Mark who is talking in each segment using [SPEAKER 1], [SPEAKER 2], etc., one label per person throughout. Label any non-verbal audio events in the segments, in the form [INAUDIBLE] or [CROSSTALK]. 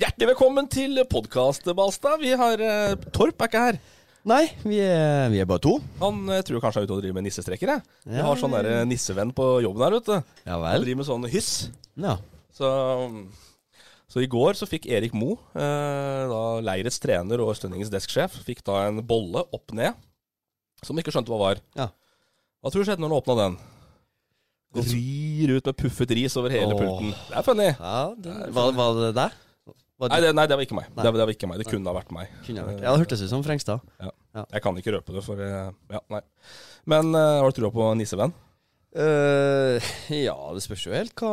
[SPEAKER 1] Hjertelig velkommen til podkast, Balstad. Vi har eh, Torp er ikke her.
[SPEAKER 2] Nei, vi er, vi er bare to.
[SPEAKER 1] Han eh, tror kanskje han er ute og driver med nissestreker. Jeg. Vi har sånn der, eh, nissevenn på jobben her, vet du.
[SPEAKER 2] Ja
[SPEAKER 1] Han
[SPEAKER 2] vel.
[SPEAKER 1] driver med sånn hyss.
[SPEAKER 2] Ja.
[SPEAKER 1] Så, så i går så fikk Erik Mo, eh, da leirets trener og Østlendingens desksjef, fikk da en bolle opp ned, som han ikke skjønte hva var.
[SPEAKER 2] Ja.
[SPEAKER 1] Hva tror du skjedde når han åpna den? Ryr ut med puffet ris over hele
[SPEAKER 2] Åh.
[SPEAKER 1] pulten. Det er funny.
[SPEAKER 2] det, var, var det der? Var
[SPEAKER 1] Nei,
[SPEAKER 2] det,
[SPEAKER 1] det, nei, det var ikke meg. Det, det var ikke meg. Det kunne ha vært meg.
[SPEAKER 2] kunne vært. Ja, det hørtes ut som Frengstad.
[SPEAKER 1] Jeg kan ikke røpe det, for eh, Ja, nei. Men eh, har du trua på nissevenn?
[SPEAKER 2] Eh, ja, det spørs jo helt hva,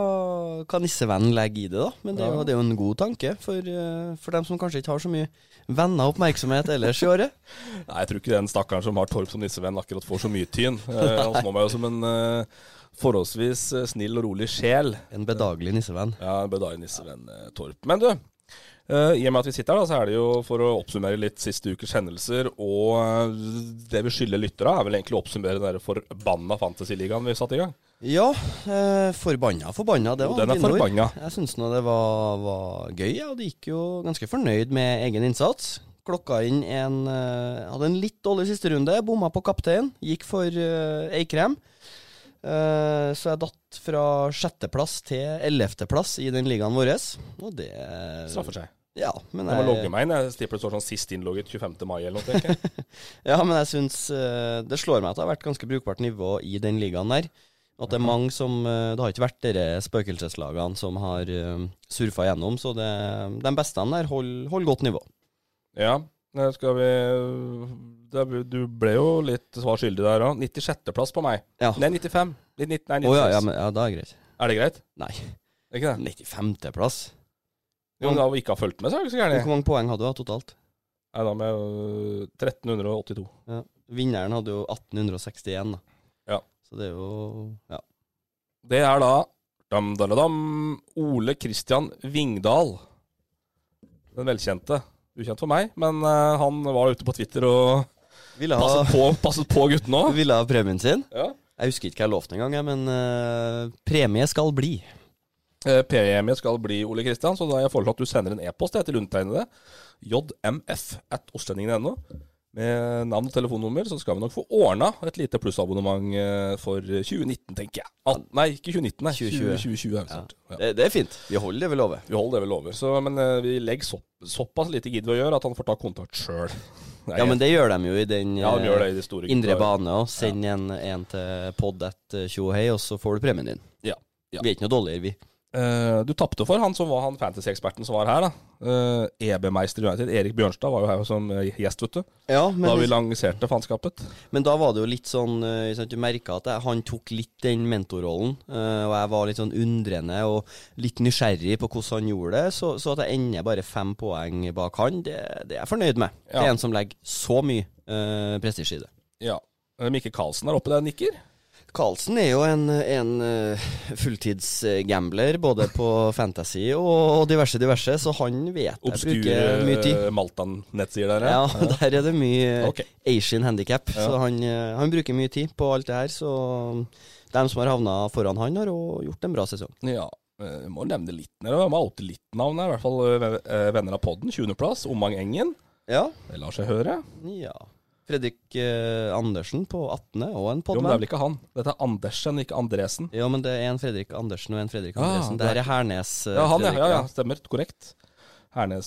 [SPEAKER 2] hva nissevennen legger i det, da. Men det, er jo- det er jo en god tanke for, eh, for dem som kanskje ikke har så mye venner og oppmerksomhet ellers i året.
[SPEAKER 1] Nei, jeg tror ikke den stakkaren som har Torp som nissevenn, akkurat får så mye tyn. Eh, Han slår meg jo som en eh, forholdsvis eh, snill og rolig sjel.
[SPEAKER 2] En bedagelig nissevenn.
[SPEAKER 1] Ja, en bedagelig nissevenn eh, Torp. Men du, eh, i og med at vi sitter her, da, så er det jo for å oppsummere litt siste ukers hendelser. Og eh, det vi skylder lyttere, er vel egentlig å oppsummere den der forbanna Fantasyligaen vi satte i gang.
[SPEAKER 2] Ja, eh, forbanna, forbanna. Det
[SPEAKER 1] Jo,
[SPEAKER 2] var
[SPEAKER 1] den er
[SPEAKER 2] dine ord.
[SPEAKER 1] forbanna.
[SPEAKER 2] Jeg syns nå det var, var gøy, ja, og de gikk jo ganske fornøyd med egen innsats. Klokka inn en eh, Hadde en litt dårlig siste runde, bomma på kaptein, gikk for eh, Eikrem. Eh, så jeg datt fra sjetteplass til ellevteplass i den ligaen vår, og det
[SPEAKER 1] Straffer seg.
[SPEAKER 2] Ja, men
[SPEAKER 1] Jeg må
[SPEAKER 2] jeg,
[SPEAKER 1] logge meg inn. Jeg stipper det står sånn sist innlogget 25. mai eller noe. tenker jeg.
[SPEAKER 2] ja, men jeg syns eh, Det slår meg at det har vært ganske brukbart nivå i den ligaen der. At det er mange som eh, Det har ikke vært dere spøkelseslagene som har eh, surfa gjennom, så det, de beste der holder hold godt nivå.
[SPEAKER 1] Ja, eh, skal vi det- Du ble jo litt svar skyldig der òg. 96.-plass på meg.
[SPEAKER 2] Ja.
[SPEAKER 1] Nei, 95. Litt nitt- Nei,
[SPEAKER 2] Å ja,
[SPEAKER 1] 96.
[SPEAKER 2] ja, men, ja, da er det greit.
[SPEAKER 1] Er det greit?
[SPEAKER 2] Nei.
[SPEAKER 1] Er Ikke det?
[SPEAKER 2] 95.-plass.
[SPEAKER 1] Jo, men da vi ikke har fulgt med, så er det ikke så
[SPEAKER 2] Hvor
[SPEAKER 1] gærent.
[SPEAKER 2] mange poeng hadde du da, totalt?
[SPEAKER 1] Nei, da med øh, 1382.
[SPEAKER 2] Vinneren hadde jo 1861, da.
[SPEAKER 1] Ja.
[SPEAKER 2] Så det er jo Ja.
[SPEAKER 1] Det er da dam, dam, dam, Ole Kristian Vingdal. Den velkjente. Ukjent for meg, men øh, han var ute på Twitter og
[SPEAKER 2] Ville ha,
[SPEAKER 1] passet på, passet på guttene òg.
[SPEAKER 2] ville ha premien sin.
[SPEAKER 1] Ja.
[SPEAKER 2] Jeg husker ikke hva jeg lovte engang, jeg, men eh, premie skal bli.
[SPEAKER 1] Eh, Premie skal bli Ole Kristian, så da har jeg foreslått at du sender en e-post jeg, til undertegnede. jmf at ostlendingen.no. Med navn og telefonnummer så skal vi nok få ordna et lite plussabonnement eh, for 2019, tenker jeg. At, nei, ikke 2019, nei.
[SPEAKER 2] 2020.
[SPEAKER 1] 2020. 2020 er det snart. Ja.
[SPEAKER 2] Det, det er fint. Vi holder det vi lover.
[SPEAKER 1] Vi holder det vi lover. Så, men eh, vi legger så, såpass lite gidder vi å gjøre at han får ta kontakt [LAUGHS] sjøl.
[SPEAKER 2] Ja, men det gjør de jo i den
[SPEAKER 1] ja, han gjør det
[SPEAKER 2] eh,
[SPEAKER 1] i de store
[SPEAKER 2] indre
[SPEAKER 1] gutta.
[SPEAKER 2] bane òg. Send en, en til pod at eh, tjohei, og så får du premien din.
[SPEAKER 1] Ja, ja.
[SPEAKER 2] Vi er ikke noe dårligere, vi.
[SPEAKER 1] Eh, du tapte for han som var han fantasy-eksperten som var her, da. Eh, EB-meister i United, Erik Bjørnstad, var jo her som eh, gjest, vet du.
[SPEAKER 2] Ja, men
[SPEAKER 1] Da vi
[SPEAKER 2] da,
[SPEAKER 1] lanserte fanskapet.
[SPEAKER 2] men da var det jo litt sånn eh, sånn at Du merka at jeg, han tok litt den mentorrollen, eh, og jeg var litt sånn undrende og litt nysgjerrig på hvordan han gjorde det. Så, så at jeg ender bare fem poeng bak han, det, det er jeg fornøyd med. Det
[SPEAKER 1] Ja.
[SPEAKER 2] er en som legger så mye uh, prestisje i det.
[SPEAKER 1] Ja. Eh, Mikke Karlsen er oppe der og nikker.
[SPEAKER 2] Carlsen er jo en, en eh, fulltidsgambler, både på [LAUGHS] fantasy og diverse, diverse, så han vet jeg
[SPEAKER 1] Obskure
[SPEAKER 2] bruker mye tid.
[SPEAKER 1] eh, Maltan-nettsider der.
[SPEAKER 2] Ja, [LAUGHS] der er det mye eh,
[SPEAKER 1] Ok.
[SPEAKER 2] Asian handicap, så han, eh, han bruker mye tid på alt det her. Så mm, dem som har havna foran han, har jo gjort en bra sesong.
[SPEAKER 1] Ja. eh, Må nevne litt nede. Vi må oute litt navn her. I hvert fall eh, eh, venner av podden. 20.-plass. Omang Engen.
[SPEAKER 2] Ja.
[SPEAKER 1] Det lar seg høre.
[SPEAKER 2] ja. Fredrik eh, Andersen på 18., og en
[SPEAKER 1] Jo, men det er
[SPEAKER 2] podman.
[SPEAKER 1] vel ikke han. Dette er Andersen, ikke Andresen.
[SPEAKER 2] Ja, men det er en Fredrik Andersen og en Fredrik
[SPEAKER 1] Ah,
[SPEAKER 2] Andresen. det her er Hernes. eh,
[SPEAKER 1] Ja, han, ja.
[SPEAKER 2] Fredrik,
[SPEAKER 1] ja, ja stemmer. Korrekt.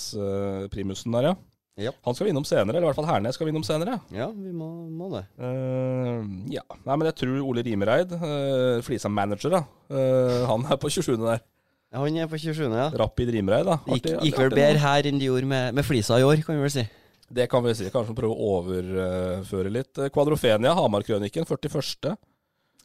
[SPEAKER 1] Hernes-primusen der, ja.
[SPEAKER 2] Ja.
[SPEAKER 1] Han skal vi innom senere. Eller i hvert fall Hernes skal vi innom senere.
[SPEAKER 2] ja. vi må, må det.
[SPEAKER 1] Eh, ja. Nei, men jeg tror Ole Rimereid, uh, Flisa manager, da. eh, han er på 27. der.
[SPEAKER 2] Han er på 27., ja.
[SPEAKER 1] Rapid Rimereid, da.
[SPEAKER 2] Gikk,
[SPEAKER 1] Artig-
[SPEAKER 2] gikk
[SPEAKER 1] artig
[SPEAKER 2] vel bedre
[SPEAKER 1] navn.
[SPEAKER 2] her enn de gjorde med, med flisa i år, kan vi vel si.
[SPEAKER 1] Det kan vi si. Kanskje prøve å overføre litt. Eh, Kvadrofenia, Hamar-krøniken, 41.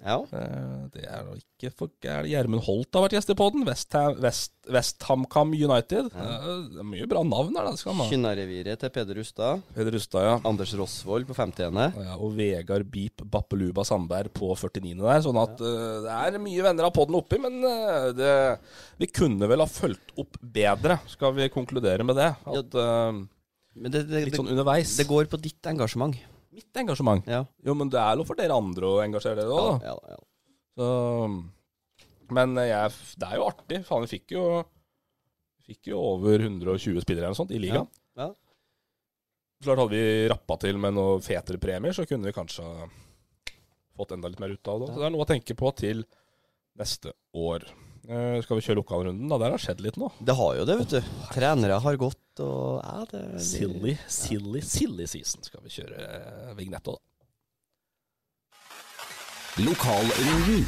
[SPEAKER 2] Ja.
[SPEAKER 1] Eh, Det er jo ikke for gærent. Gjermund Holt har vært gjest i poden. Westham West, West HamKam United. Eh, Det er mye bra navn her, da. Skal man. ha.
[SPEAKER 2] Kynnareviret til Peder Rustad.
[SPEAKER 1] Peder Rustad, ja.
[SPEAKER 2] Anders Rosvold på 50.
[SPEAKER 1] Ja, og Vegard Beep Bappeluba Sandberg på 49. der. Sånn at eh, det er mye venner av podden oppi, men eh, det, vi kunne vel ha fulgt opp bedre, skal vi konkludere med det. At, eh,
[SPEAKER 2] Men det, det,
[SPEAKER 1] litt
[SPEAKER 2] det,
[SPEAKER 1] sånn underveis.
[SPEAKER 2] det går på ditt engasjement.
[SPEAKER 1] Mitt engasjement.
[SPEAKER 2] Ja.
[SPEAKER 1] Jo, men det er lov for dere andre å engasjere dere òg, da.
[SPEAKER 2] Ja, ja.
[SPEAKER 1] Så, men eh, jeg, det er jo artig. Faen, vi fikk jo, fikk jo over 120 spillere eller noe sånt i ligaen.
[SPEAKER 2] Ja.
[SPEAKER 1] Klart hadde vi rappa til med noen fetere premier, så kunne vi kanskje ha fått enda litt mer ut av det. Så det er noe å tenke på til neste år. Eh, skal vi kjøre lokalrunden, da? Der har skjedd litt nå.
[SPEAKER 2] Det har jo det, vet du. Trenere har gått og ja, det,
[SPEAKER 1] Silly, silly, silly season skal vi kjøre eh, vignett òg, da.
[SPEAKER 3] Lokalrunden.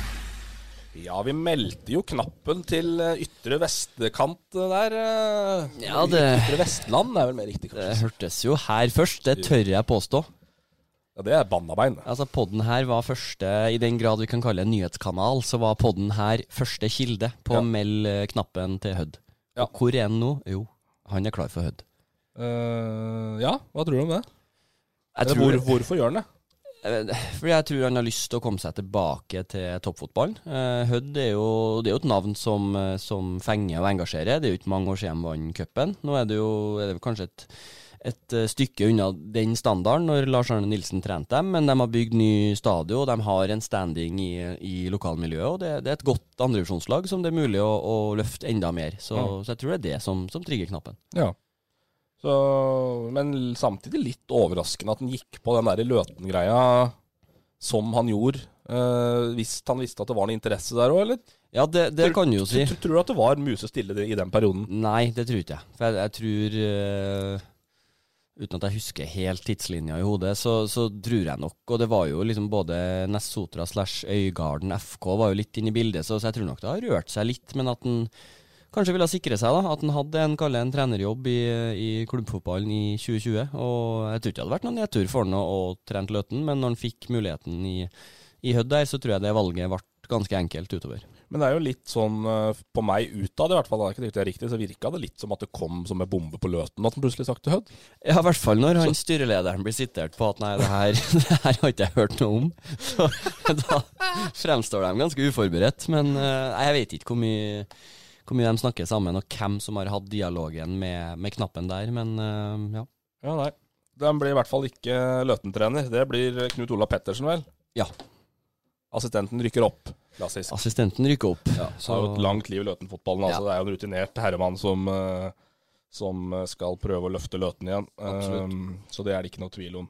[SPEAKER 1] Ja, vi meldte jo knappen til eh, ytre vestkant eh, der. eh.
[SPEAKER 2] Ja, det-
[SPEAKER 1] Ytre Vestland er vel mer riktig,
[SPEAKER 2] det
[SPEAKER 1] kanskje.
[SPEAKER 2] hørtes jo her først, det tør jeg påstå.
[SPEAKER 1] Ja, det er bannabein.
[SPEAKER 2] Altså, podden her var første, i den grad vi kan kalle det en nyhetskanal, så var podden her første kilde på
[SPEAKER 1] Ja.
[SPEAKER 2] å meld eh, knappen til Hødd.
[SPEAKER 1] Ja.
[SPEAKER 2] Og hvor er han nå? Jo, han er klar for Hødd.
[SPEAKER 1] Eh, ja, hva tror du om det?
[SPEAKER 2] Jeg
[SPEAKER 1] Eller
[SPEAKER 2] tror,
[SPEAKER 1] hvor, hvorfor gjør han det?
[SPEAKER 2] eh, fordi jeg tror han har lyst til å komme seg tilbake til toppfotballen. Eh, Hødd er jo, det er jo et navn som, eh, som fenger og engasjerer. Det er jo ikke mange år siden de vant cupen. Nå er det jo er det vel kanskje et et eh, stykke unna den standarden når Lars Arne Nilsen trente dem, men de har bygd ny stadion, og de har en standing i, i lokalmiljøet, og det, det er et godt andrevisjonslag som det er mulig å, å løfte enda mer. Så, så jeg tror det er det som, som trigger knappen.
[SPEAKER 1] Ja. Så, men samtidig litt overraskende at han gikk på den der Løten-greia som han gjorde. eh, hvis han visste at det var noe interesse der òg, eller?
[SPEAKER 2] Ja, det, det kan du jo si.
[SPEAKER 1] Tr- Tror du at det var musestille i den perioden?
[SPEAKER 2] Nei, det tror ikke jeg. For jeg, jeg tror eh, Uten at jeg husker helt tidslinja i hodet, så, så tror jeg nok Og det var jo liksom både Nessotra slash Øygarden FK var jo litt inne i bildet, så, så jeg tror nok det har rørt seg litt. Men at han kanskje ville sikre seg, da. At han hadde en, kalle det en trenerjobb i, i klubbfotballen i 2020. Og jeg tror ikke det hadde vært noen nedtur for han å, å trene til Løten, men når han fikk muligheten i, i Hødd der, så tror jeg det valget ble ganske enkelt utover.
[SPEAKER 1] Men det er jo litt sånn, eh, på meg utad i hvert fall, da er ikke det riktig, så virka det litt som at det kom som en bombe på løten, at han plutselig sakte hødd.
[SPEAKER 2] Ja, i hvert fall når han styrelederen blir sitert på at nei, det her, [LAUGHS] det her har ikke jeg hørt noe om. [LAUGHS] Så da fremstår de ganske uforberedt. Men eh, nei, jeg vet ikke hvor mye, hvor mye de snakker sammen, og hvem som har hatt dialogen med, med knappen der, men eh, ja.
[SPEAKER 1] Ja, nei. Den blir i hvert fall ikke Løten-trener. Det blir Knut Olav Pettersen, vel?
[SPEAKER 2] Ja,
[SPEAKER 1] Assistenten rykker opp. Klassisk.
[SPEAKER 2] assistenten rykker opp.
[SPEAKER 1] Ja, så har jo et langt liv i Løten-fotballen. Altså. Det er jo en rutinert herremann som, eh, som eh, skal prøve å løfte Løten igjen.
[SPEAKER 2] Absolutt.
[SPEAKER 1] Eh, så det er det ikke noe tvil om.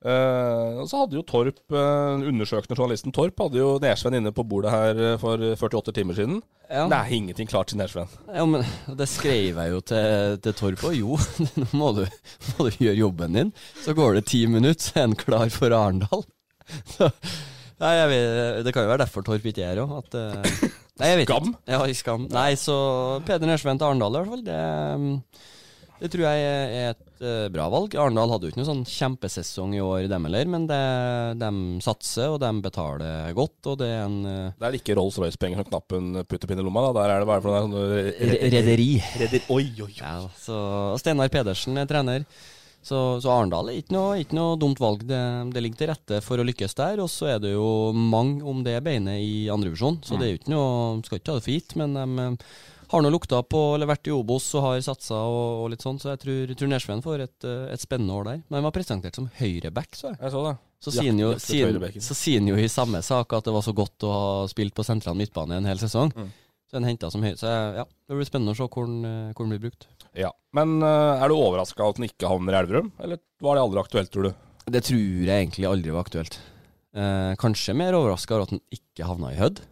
[SPEAKER 1] Eh, og så hadde jo Torp, eh, undersøkende journalisten Torp, hadde jo Nesven inne på bordet her eh, for 48 timer siden.
[SPEAKER 2] Ja.
[SPEAKER 1] Nei, ingenting klart til Nesven.
[SPEAKER 2] Ja, men det skrev jeg jo til, til Torp og jo, [LAUGHS] nå må du, må du gjøre jobben din. Så går det ti minutter, så er han klar for Arendal. [LAUGHS] Så, nei, jeg vet, det kan jo være derfor Torp ikke er her òg. Nei, jeg vet
[SPEAKER 1] Skam?
[SPEAKER 2] Ikke. Ja, i skam. Nei, så Peder Nesven til Arendal i hvert fall, det, eh, det tror jeg er et eh, bra valg. Arendal hadde jo ikke noen sånn kjempesesong i år, dem heller, men det, de satser, og de betaler godt, og det er en eh,
[SPEAKER 1] Det er ikke Rolls-Royce-penger som knappen putter pinn i lomma. Da. Der er det bare for noe
[SPEAKER 2] re- rederi.
[SPEAKER 1] Oi, oi, oi.
[SPEAKER 2] Ja, så og Steinar Pedersen er trener. Så, så Arendal er ikke noe, ikke noe dumt valg. Det, det ligger til rette for å lykkes der. Og så er det jo mange om det beinet i andrevisjon,
[SPEAKER 1] Mm.
[SPEAKER 2] så det er jo ikke noe Skal ikke ta det for gitt, men de eh, har nå lukta på eller vært i Obos og har satsa og, og litt sånn, så jeg tror, tror Nesven får et, eh, et spennende år der. Men han var presentert som høyreback, så jeg.
[SPEAKER 1] Jeg så det.
[SPEAKER 2] Så sier, han jo,
[SPEAKER 1] Jaktet
[SPEAKER 2] sier,
[SPEAKER 1] høyrebacken.
[SPEAKER 2] så sier han jo i samme sak at det var så godt å ha spilt på sentral midtbane en hel sesong. Så han hentet som høyre... Så jeg- ja, det blir spennende å se hvor han eh, hvor han blir brukt.
[SPEAKER 1] Ja. Men eh, er du overraska at den ikke havner i Elverum, eller var det aldri aktuelt, tror du?
[SPEAKER 2] Det tror jeg egentlig aldri var aktuelt. Eh, kanskje mer overraska over at den ikke havna i Hødd.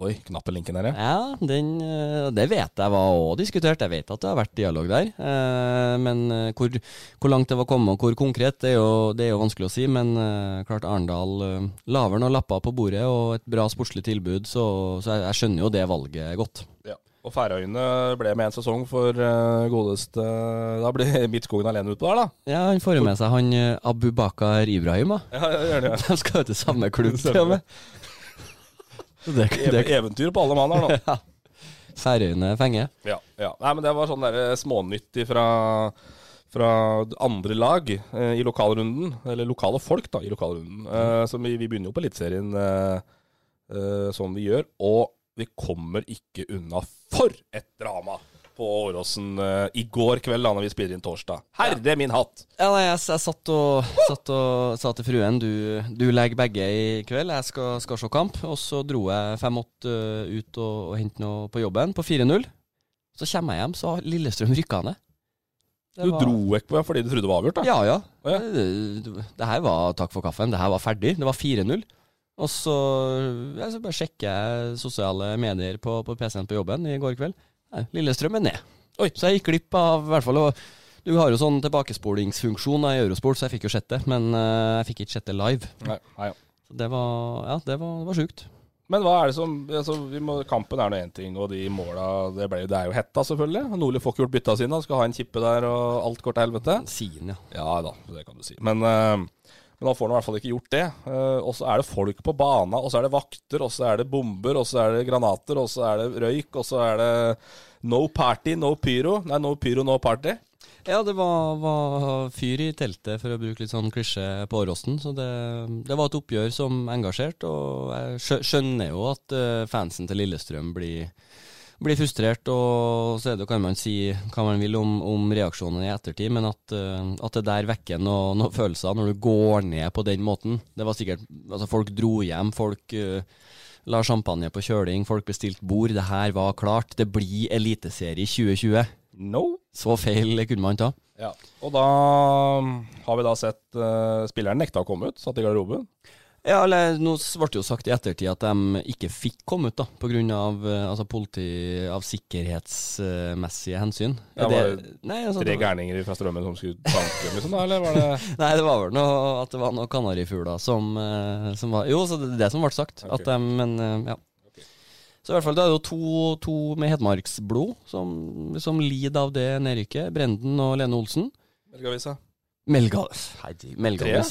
[SPEAKER 1] Oi, knappen linken her, ja.
[SPEAKER 2] Ja, den, eh, det vet jeg var òg diskutert. Jeg vet at det har vært dialog der. Eh, men eh, hvor, hvor langt det var kommet, og hvor konkret, det er jo, det er jo vanskelig å si. Men eh, klart Arendal eh, laver noen lapper på bordet og et bra sportslig tilbud, så, så jeg, jeg skjønner jo det valget godt.
[SPEAKER 1] Ja. Og Færøyene ble med en sesong for eh, godeste Da blir [LAUGHS] Midtskogen alene utpå der, da.
[SPEAKER 2] Ja, Han får jo med seg han eh, Abubakar Ibrahim. da. [LAUGHS]
[SPEAKER 1] [LAUGHS] Ja, ja, gjør det,
[SPEAKER 2] De skal jo til samme klubb, til og med. Det,
[SPEAKER 1] Ev
[SPEAKER 2] det,
[SPEAKER 1] eventyr på alle mann her nå. [LAUGHS]
[SPEAKER 2] Færøyene fenger.
[SPEAKER 1] Ja, ja. Nei, men det var sånn der smånyttig fra, fra andre lag eh, i lokalrunden. Eller lokale folk, da, i lokalrunden. Eh, så vi, vi begynner jo på Eliteserien eh, eh, som vi gjør. Og vi kommer ikke unna for et drama på Åråsen eh, i går kveld, da når vi spiller inn torsdag. Herre min hatt!
[SPEAKER 2] Ja, nei, jeg, s- jeg satt, og, satt og sa til fruen du, du legger begge i kveld, jeg skal, skal se kamp. Og så dro jeg 5-8 ut og, og hentet noe på jobben, på 4-0. Så kommer jeg hjem, så har Lillestrøm rykka ned. Det
[SPEAKER 1] Du
[SPEAKER 2] var-
[SPEAKER 1] dro ikke på fordi du trodde det var avgjort, da?
[SPEAKER 2] [LAUGHS] Ja, ja.
[SPEAKER 1] Å, ja.
[SPEAKER 2] Det, det- det her var takk for kaffen. Det her var ferdig. Det var 4-0. Og så, ja, så bare sjekker jeg sosiale medier på, på PC-en på jobben i går kveld. Nei, Lillestrøm er ned. Oi. Så jeg gikk glipp av i hvert fall og Du har jo sånn tilbakespolingsfunksjon da i Eurosport, så jeg fikk jo sett det. Men eh, jeg fikk ikke sett det live.
[SPEAKER 1] Nei, nei, ja.
[SPEAKER 2] Så det var Ja, det var, det var sjukt.
[SPEAKER 1] Men hva er det som altså, vi må, Kampen er nå én ting, og de måla det, ble, det er jo hetta, selvfølgelig. Nordli får ikke gjort bytta sine, han skal ha en kippe der, og alt går til helvete.
[SPEAKER 2] Siden, ja.
[SPEAKER 1] Ja da, det kan du si. Men, eh, men han får nå i hvert fall ikke gjort det. Eh, og så er det folk på bana, og så er det vakter, og så er det bomber, og så er det granater, og så er det røyk, og så er det no party, no pyro. Nei, no pyro, no party.
[SPEAKER 2] Ja, det var, var fyr i teltet, for å bruke litt sånn klisjé på Åråsen. Så det, det var et oppgjør som engasjerte, og jeg skjø- skjønner jo at eh, fansen til Lillestrøm blir, blir frustrert. Og så er det, jo, kan man si hva man vil om, om reaksjonene i ettertid, men at, eh, at det der vekker noen noe følelser når du går ned på den måten. Det var sikkert Altså, folk dro hjem, folk eh, la champagne på kjøling, folk bestilte bord. Det her var klart. Det blir Eliteserie 2020.
[SPEAKER 1] No.
[SPEAKER 2] Så feil kunne man ta.
[SPEAKER 1] Ja. Og da mm, har vi da sett eh, spilleren nekta å komme ut, satt i garderoben.
[SPEAKER 2] Ja, eller nå s- ble det jo sagt i ettertid at de ikke fikk komme ut, da, på grunn av, eh, altså, politi av sikkerhetsmessige hensyn.
[SPEAKER 1] Ja,
[SPEAKER 2] Er
[SPEAKER 1] var det
[SPEAKER 2] nei, altså,
[SPEAKER 1] Tre
[SPEAKER 2] det var-
[SPEAKER 1] gærninger fra Strømmen som skulle banke dem, liksom, da, eller var det
[SPEAKER 2] nei, det var vel noe at det var noen kanarifugler som, eh, som var Jo, så det er det som ble sagt.
[SPEAKER 1] Ok.
[SPEAKER 2] At de, men eh, ja. Så i hvert fall, det er jo to, to med hedmarksblod som, som lider av det nedrykket. Brenden og Lene Olsen.
[SPEAKER 1] Melgavisa.
[SPEAKER 2] Melgalves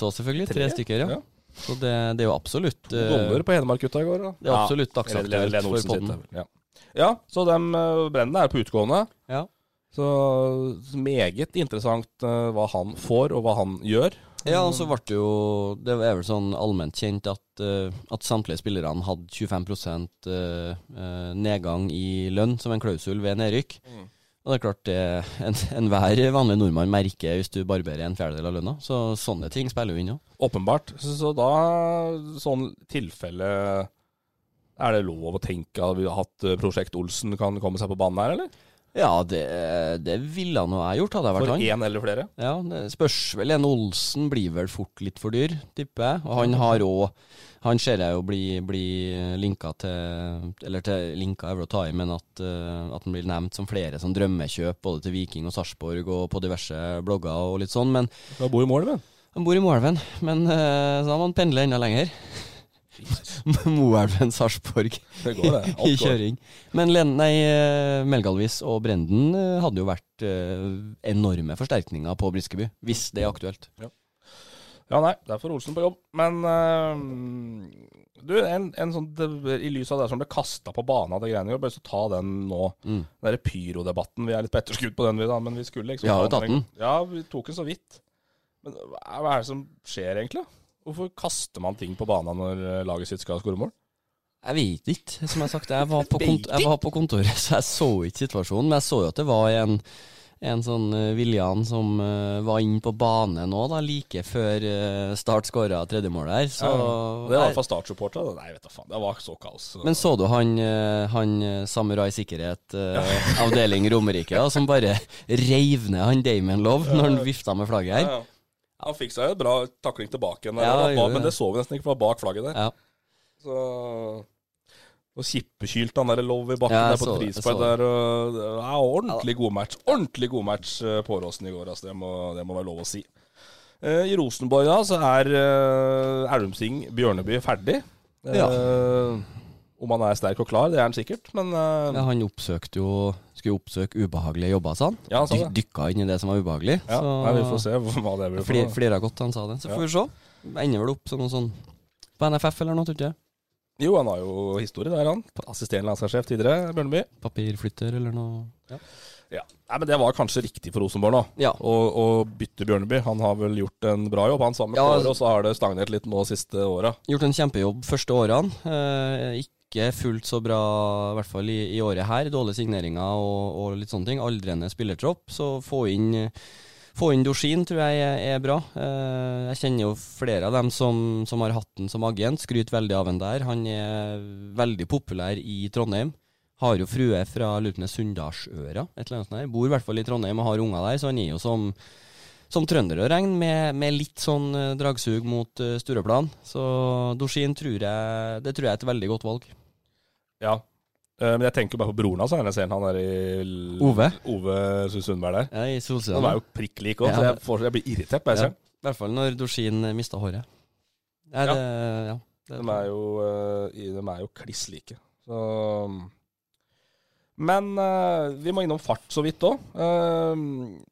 [SPEAKER 2] òg, selvfølgelig. Tre,
[SPEAKER 1] Tre?
[SPEAKER 2] stykker, ja.
[SPEAKER 1] Ja.
[SPEAKER 2] Så det, det er jo absolutt eh,
[SPEAKER 1] Dommer på Hedmark-gutta i går. Da.
[SPEAKER 2] Det er absolutt dagsaktuelt
[SPEAKER 1] Lene
[SPEAKER 2] for
[SPEAKER 1] Olsen sitt,
[SPEAKER 2] podden.
[SPEAKER 1] det vel, Ja. ja, så dem eh, brennene er på utgående.
[SPEAKER 2] Ja.
[SPEAKER 1] Så meget interessant eh, hva han får, og hva han gjør.
[SPEAKER 2] Ja, og så ble det jo Det er vel sånn allment kjent at, eh, at samtlige spillerne hadde 25 eh, eh, nedgang i lønn som en klausul ved nedrykk. Og det er klart det en- enhver vanlig nordmann merker hvis du barberer en fjerdedel av lønna. Så sånne ting spiller jo inn òg.
[SPEAKER 1] Åpenbart. Så, så da, sånn tilfelle Er det lov å tenke at vi har hatt eh, Prosjekt Olsen kan komme seg på banen her, eller?
[SPEAKER 2] Ja, det, det ville nå jeg gjort, hadde jeg vært
[SPEAKER 1] For
[SPEAKER 2] han.
[SPEAKER 1] én eller flere?
[SPEAKER 2] Ja, det spørs vel. En Olsen blir vel fort litt for dyr, tipper jeg. Og han har òg Han ser jeg jo bli, bli linka til Eller til linka er vel å ta i, men at, eh, at han blir nevnt som flere som drømmekjøp både til Viking og Sarpsborg og på diverse blogger og litt sånn. Men
[SPEAKER 1] Da bor i mål, men.
[SPEAKER 2] han bor i Moelven, men eh, så han må pendle enda lenger. [LAUGHS] Moelven-Sarpsborg
[SPEAKER 1] Det går,
[SPEAKER 2] i
[SPEAKER 1] det.
[SPEAKER 2] [LAUGHS]
[SPEAKER 1] Alt går.
[SPEAKER 2] kjøring. Men Len, nei, eh, Melgalvis og Brenden eh, hadde jo vært eh, enorme forsterkninger på Briskeby, hvis det er aktuelt.
[SPEAKER 1] Ja, nei, det er for Olsen på jobb. Men eh, du, en, en sånn det- I lys av det som ble kasta på banen av det greiene, jeg har bare lyst til å ta den nå.
[SPEAKER 2] Mm.
[SPEAKER 1] Den derre pyrodebatten. Vi er litt på etterskudd på den, vi da, men vi skulle liksom
[SPEAKER 2] Vi har jo tatt den.
[SPEAKER 1] Ja, vi tok den så vidt. Men hva hva er det som skjer, egentlig? Hvorfor kaster man ting på banen når eh, laget sitt skal skåre mål?
[SPEAKER 2] Jeg vet ikke, som jeg har sagt. Jeg var,
[SPEAKER 1] [LAUGHS]
[SPEAKER 2] på kont jeg var på kontoret, [LAUGHS] så jeg så ikke situasjonen. Men jeg så jo at det var en, en sånn eh, Viljan som eh, var inne på bane nå, da, like før eh, Start skåra tredjemålet her. Så
[SPEAKER 1] Og Det var i hvert fall startsupportere. Nei, vet da faen. Det var så kaos.
[SPEAKER 2] Men så du han, eh, han eh, Samurai Sikkerhet,
[SPEAKER 1] [LAUGHS]
[SPEAKER 2] eh, avdeling Romerike, da, som bare reiv ned han Damon Love når han vifta med flagget her?
[SPEAKER 1] Ja, ja. Han fikk seg jo en bra takling tilbake igjen, der,
[SPEAKER 2] Ja,
[SPEAKER 1] da,
[SPEAKER 2] han gjorde
[SPEAKER 1] men det
[SPEAKER 2] det.
[SPEAKER 1] så vi nesten ikke, for det var bak flagget der.
[SPEAKER 2] Ja.
[SPEAKER 1] Så og kippekylt han der Love i bakken
[SPEAKER 2] Ja, jeg
[SPEAKER 1] der på
[SPEAKER 2] så det, jeg
[SPEAKER 1] Trisberg
[SPEAKER 2] så det.
[SPEAKER 1] der. Og, det er ordentlig god match. Ordentlig god match eh, på Åråsen i går, altså. Det må, det må være lov å si. Eh, I Rosenborg da, så er uh, Elvumsing Bjørneby ferdig. Eh,
[SPEAKER 2] Ja.
[SPEAKER 1] Om han er sterk og klar, det er han sikkert, men eh,
[SPEAKER 2] Ja, han oppsøkte jo Skulle oppsøke ubehagelige jobber, sa han.
[SPEAKER 1] Ja, han sa
[SPEAKER 2] Dy-
[SPEAKER 1] det.
[SPEAKER 2] Dykka inn i det som var ubehagelig.
[SPEAKER 1] ja,
[SPEAKER 2] så-
[SPEAKER 1] nei, vi får se hva det blir. for
[SPEAKER 2] Flir,
[SPEAKER 1] noe.
[SPEAKER 2] flira godt, han sa det. Så får vi se. Ender vel opp som noe sånn på NFF eller noe, tror jeg.
[SPEAKER 1] Jo, han har jo historie der, han. Assisterende landslagssjef tidligere, Bjørneby.
[SPEAKER 2] Papirflytter eller noe? Ja.
[SPEAKER 1] Ja. Nei, men Det var kanskje riktig for Rosenborg nå,
[SPEAKER 2] Ja.
[SPEAKER 1] å, å bytte Bjørneby. Han har vel gjort en bra jobb, han sammen med
[SPEAKER 2] Ja, altså-
[SPEAKER 1] Kåre, og så har det stagnert litt nå siste åra.
[SPEAKER 2] Gjort en kjempejobb første årene. Eh, ikke fullt så bra, i hvert fall i, i året her. Dårlige signeringer og, og litt sånne ting. Aldrende spillertropp. Så få inn få inn Dozhin tror jeg er, er bra. Eh, jeg kjenner jo flere av dem som, som har hatt den som agent. Skryter veldig av han der. Han er veldig populær i Trondheim. Har jo frue fra Lutne Sunndalsøra, et eller annet sånt der. Bor i hvert fall i Trondheim og har unger der, så han er jo som som trønder å regne, med, med litt sånn eh, dragsug mot eh, Stureplan. Så Dozhin tror jeg Det tror jeg er et veldig godt valg.
[SPEAKER 1] Ja. Eh, Men jeg tenker bare på broren hans, jeg ser han der i L-
[SPEAKER 2] Ove?
[SPEAKER 1] Ove Sundberg der.
[SPEAKER 2] Ja, i
[SPEAKER 1] Han
[SPEAKER 2] Solsida.
[SPEAKER 1] er jo prikk lik òg, så
[SPEAKER 2] Ja.
[SPEAKER 1] jeg, får, jeg blir irritert bare jeg ser han.
[SPEAKER 2] I hvert fall når Dozhin mista håret. Nei,
[SPEAKER 1] Ja.
[SPEAKER 2] det, ja. Det,
[SPEAKER 1] De er jo, eh, i- de er jo kliss like. Så Men eh, vi må innom fart så vidt òg.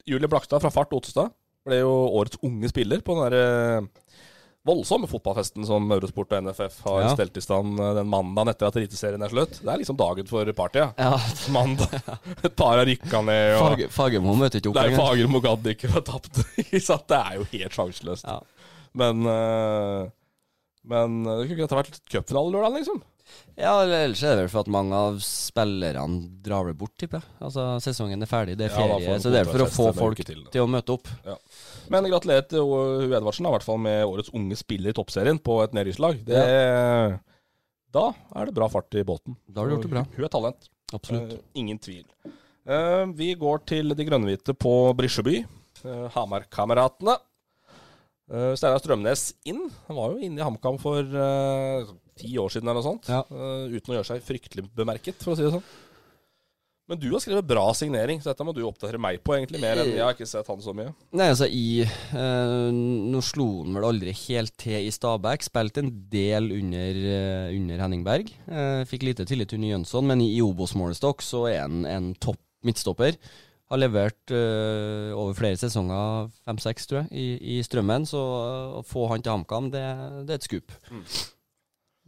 [SPEAKER 1] Julie Blakstad fra Fart Otstad ble jo årets unge spiller på den der eh, voldsomme fotballfesten som Eurosport og NFF har
[SPEAKER 2] Ja.
[SPEAKER 1] stelt i stand eh, den mandagen etter at eliteserien er slutt. Det er liksom dagen for
[SPEAKER 2] [LAUGHS]
[SPEAKER 1] partyet.
[SPEAKER 2] ja.
[SPEAKER 1] Mandag. Et par har rykka ned, og
[SPEAKER 2] Fag, Fagermo møter ikke opp
[SPEAKER 1] det er jo
[SPEAKER 2] engang.
[SPEAKER 1] Fagermo gadd ikke og tapte. [LAUGHS] ikke sant? Det er jo helt sjanseløst.
[SPEAKER 2] Ja.
[SPEAKER 1] Men eh, Men eh, det kunne ikke dette vært cupfinale lørdag, liksom?
[SPEAKER 2] Ja, eller ellers er det vel for at mange av spillerne drar det bort, tipper jeg. Altså, sesongen er ferdig, det er
[SPEAKER 1] Ja, da får
[SPEAKER 2] ferie,
[SPEAKER 1] de
[SPEAKER 2] så det er vel for å
[SPEAKER 1] kontrafest
[SPEAKER 2] få
[SPEAKER 1] en
[SPEAKER 2] folk
[SPEAKER 1] uke til,
[SPEAKER 2] til,
[SPEAKER 1] da.
[SPEAKER 2] å møte opp.
[SPEAKER 1] Men gratulerer til O- Hu Edvardsen, da, i hvert fall med årets unge spiller i toppserien på et nedrykkslag. Det Da er det bra fart i båten.
[SPEAKER 2] Da har du gjort det bra.
[SPEAKER 1] Hun er talent.
[SPEAKER 2] Absolutt.
[SPEAKER 1] Eh, ingen tvil. Eh, vi går til de grønnhvite på Brisjeby. Uh, Hamarkameratene. Uh, Steinar Strømnes inn. Han var jo inne i HamKam for eh, ti år siden eller noe sånt.
[SPEAKER 2] Ja.
[SPEAKER 1] Eh, uten å gjøre seg fryktelig bemerket, for å si det sånn. Men du har skrevet bra signering, så dette må du oppdatere meg på, egentlig. Mer enn jeg har ikke sett han så mye.
[SPEAKER 2] Nei, altså i eh, Nå slo han vel aldri helt til i Stabæk. Spilte en del under, eh, under Henning Berg. Eh, fikk lite tillit under Jønsson, men i, i Obos-målestokk så er han en topp midtstopper. Har levert eh, over flere sesonger, fem-seks tror jeg, i, i strømmen. Så eh, å få han til HamKam, det, det er et skup.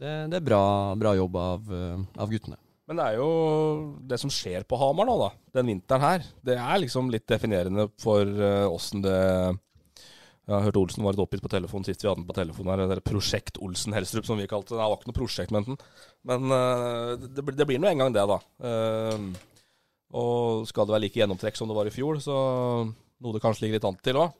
[SPEAKER 2] Det, det er bra, bra jobb av, eh, av guttene.
[SPEAKER 1] Men det er jo det som skjer på Hamar nå, da. Den vinteren her. Det er liksom litt definerende for eh, åssen det Jeg har hørt Olsen var litt oppgitt på telefon sist vi hadde den på telefon her. Det der Prosjekt Olsen Helstrup, som vi kalte det. Det var ikke noe prosjekt, men, men eh, det, blir- det blir nå en gang det, da. Eh, og skal det være like gjennomtrekk som det var i fjor, så noe det kanskje ligger litt an til òg.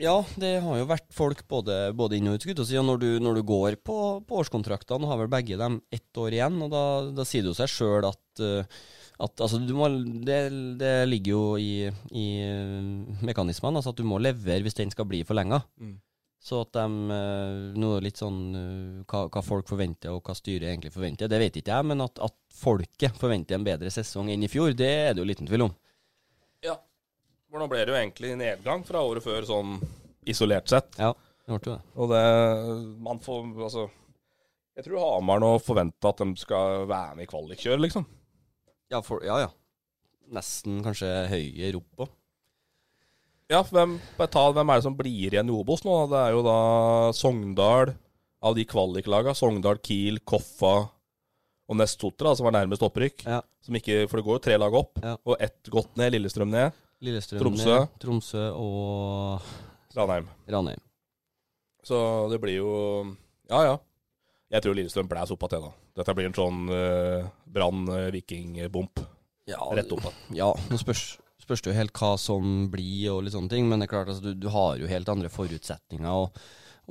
[SPEAKER 2] Ja, det har jo vært folk både, både inn og ut, skulle jeg til å si. Og når du, når du går på, på årskontraktene, har vel begge dem ett år igjen, og da, da sier det jo seg sjøl at, eh, at altså, du må, det, det ligger jo i, i eh, mekanismene, altså at du må levere hvis den skal bli forlenga. Så at de Nå litt sånn eh, hva, hva folk forventer, og hva styret egentlig forventer, det vet ikke jeg, men at, at folket forventer en bedre sesong enn i fjor, det er det jo liten tvil om.
[SPEAKER 1] Ja. Hvordan ble det jo egentlig nedgang fra året før, sånn isolert sett?
[SPEAKER 2] Ja, det ble jo det.
[SPEAKER 1] Og det Man får Altså Jeg tror Hamar nå forventer at de skal være med i kvalikkjøret, liksom.
[SPEAKER 2] Ja, for, ja, ja. Nesten kanskje høyere opp òg.
[SPEAKER 1] Ja, for hvem, bare ta, hvem er det som blir igjen i Obos nå? da? Det er jo da Sogndal av de kvaliklaga. Sogndal, Kiel, Koffa og Nestotra, da, som var nærmest opprykk.
[SPEAKER 2] Ja.
[SPEAKER 1] Som ikke, for det går jo tre lag opp,
[SPEAKER 2] Ja.
[SPEAKER 1] og ett godt ned. Lillestrøm ned.
[SPEAKER 2] Lillestrøm,
[SPEAKER 1] Tromsø.
[SPEAKER 2] Tromsø og
[SPEAKER 1] Ranheim.
[SPEAKER 2] Ranheim.
[SPEAKER 1] Så det blir jo Ja, ja. Jeg tror Lillestrøm blæs opp av det, da. Dette blir en sånn eh, Brann-Viking-bomp.
[SPEAKER 2] Ja,
[SPEAKER 1] Rett opp av.
[SPEAKER 2] Ja, nå spørs, spørs det jo helt hva som blir og litt sånne ting, men det er klart altså, du, du har jo helt andre forutsetninger og,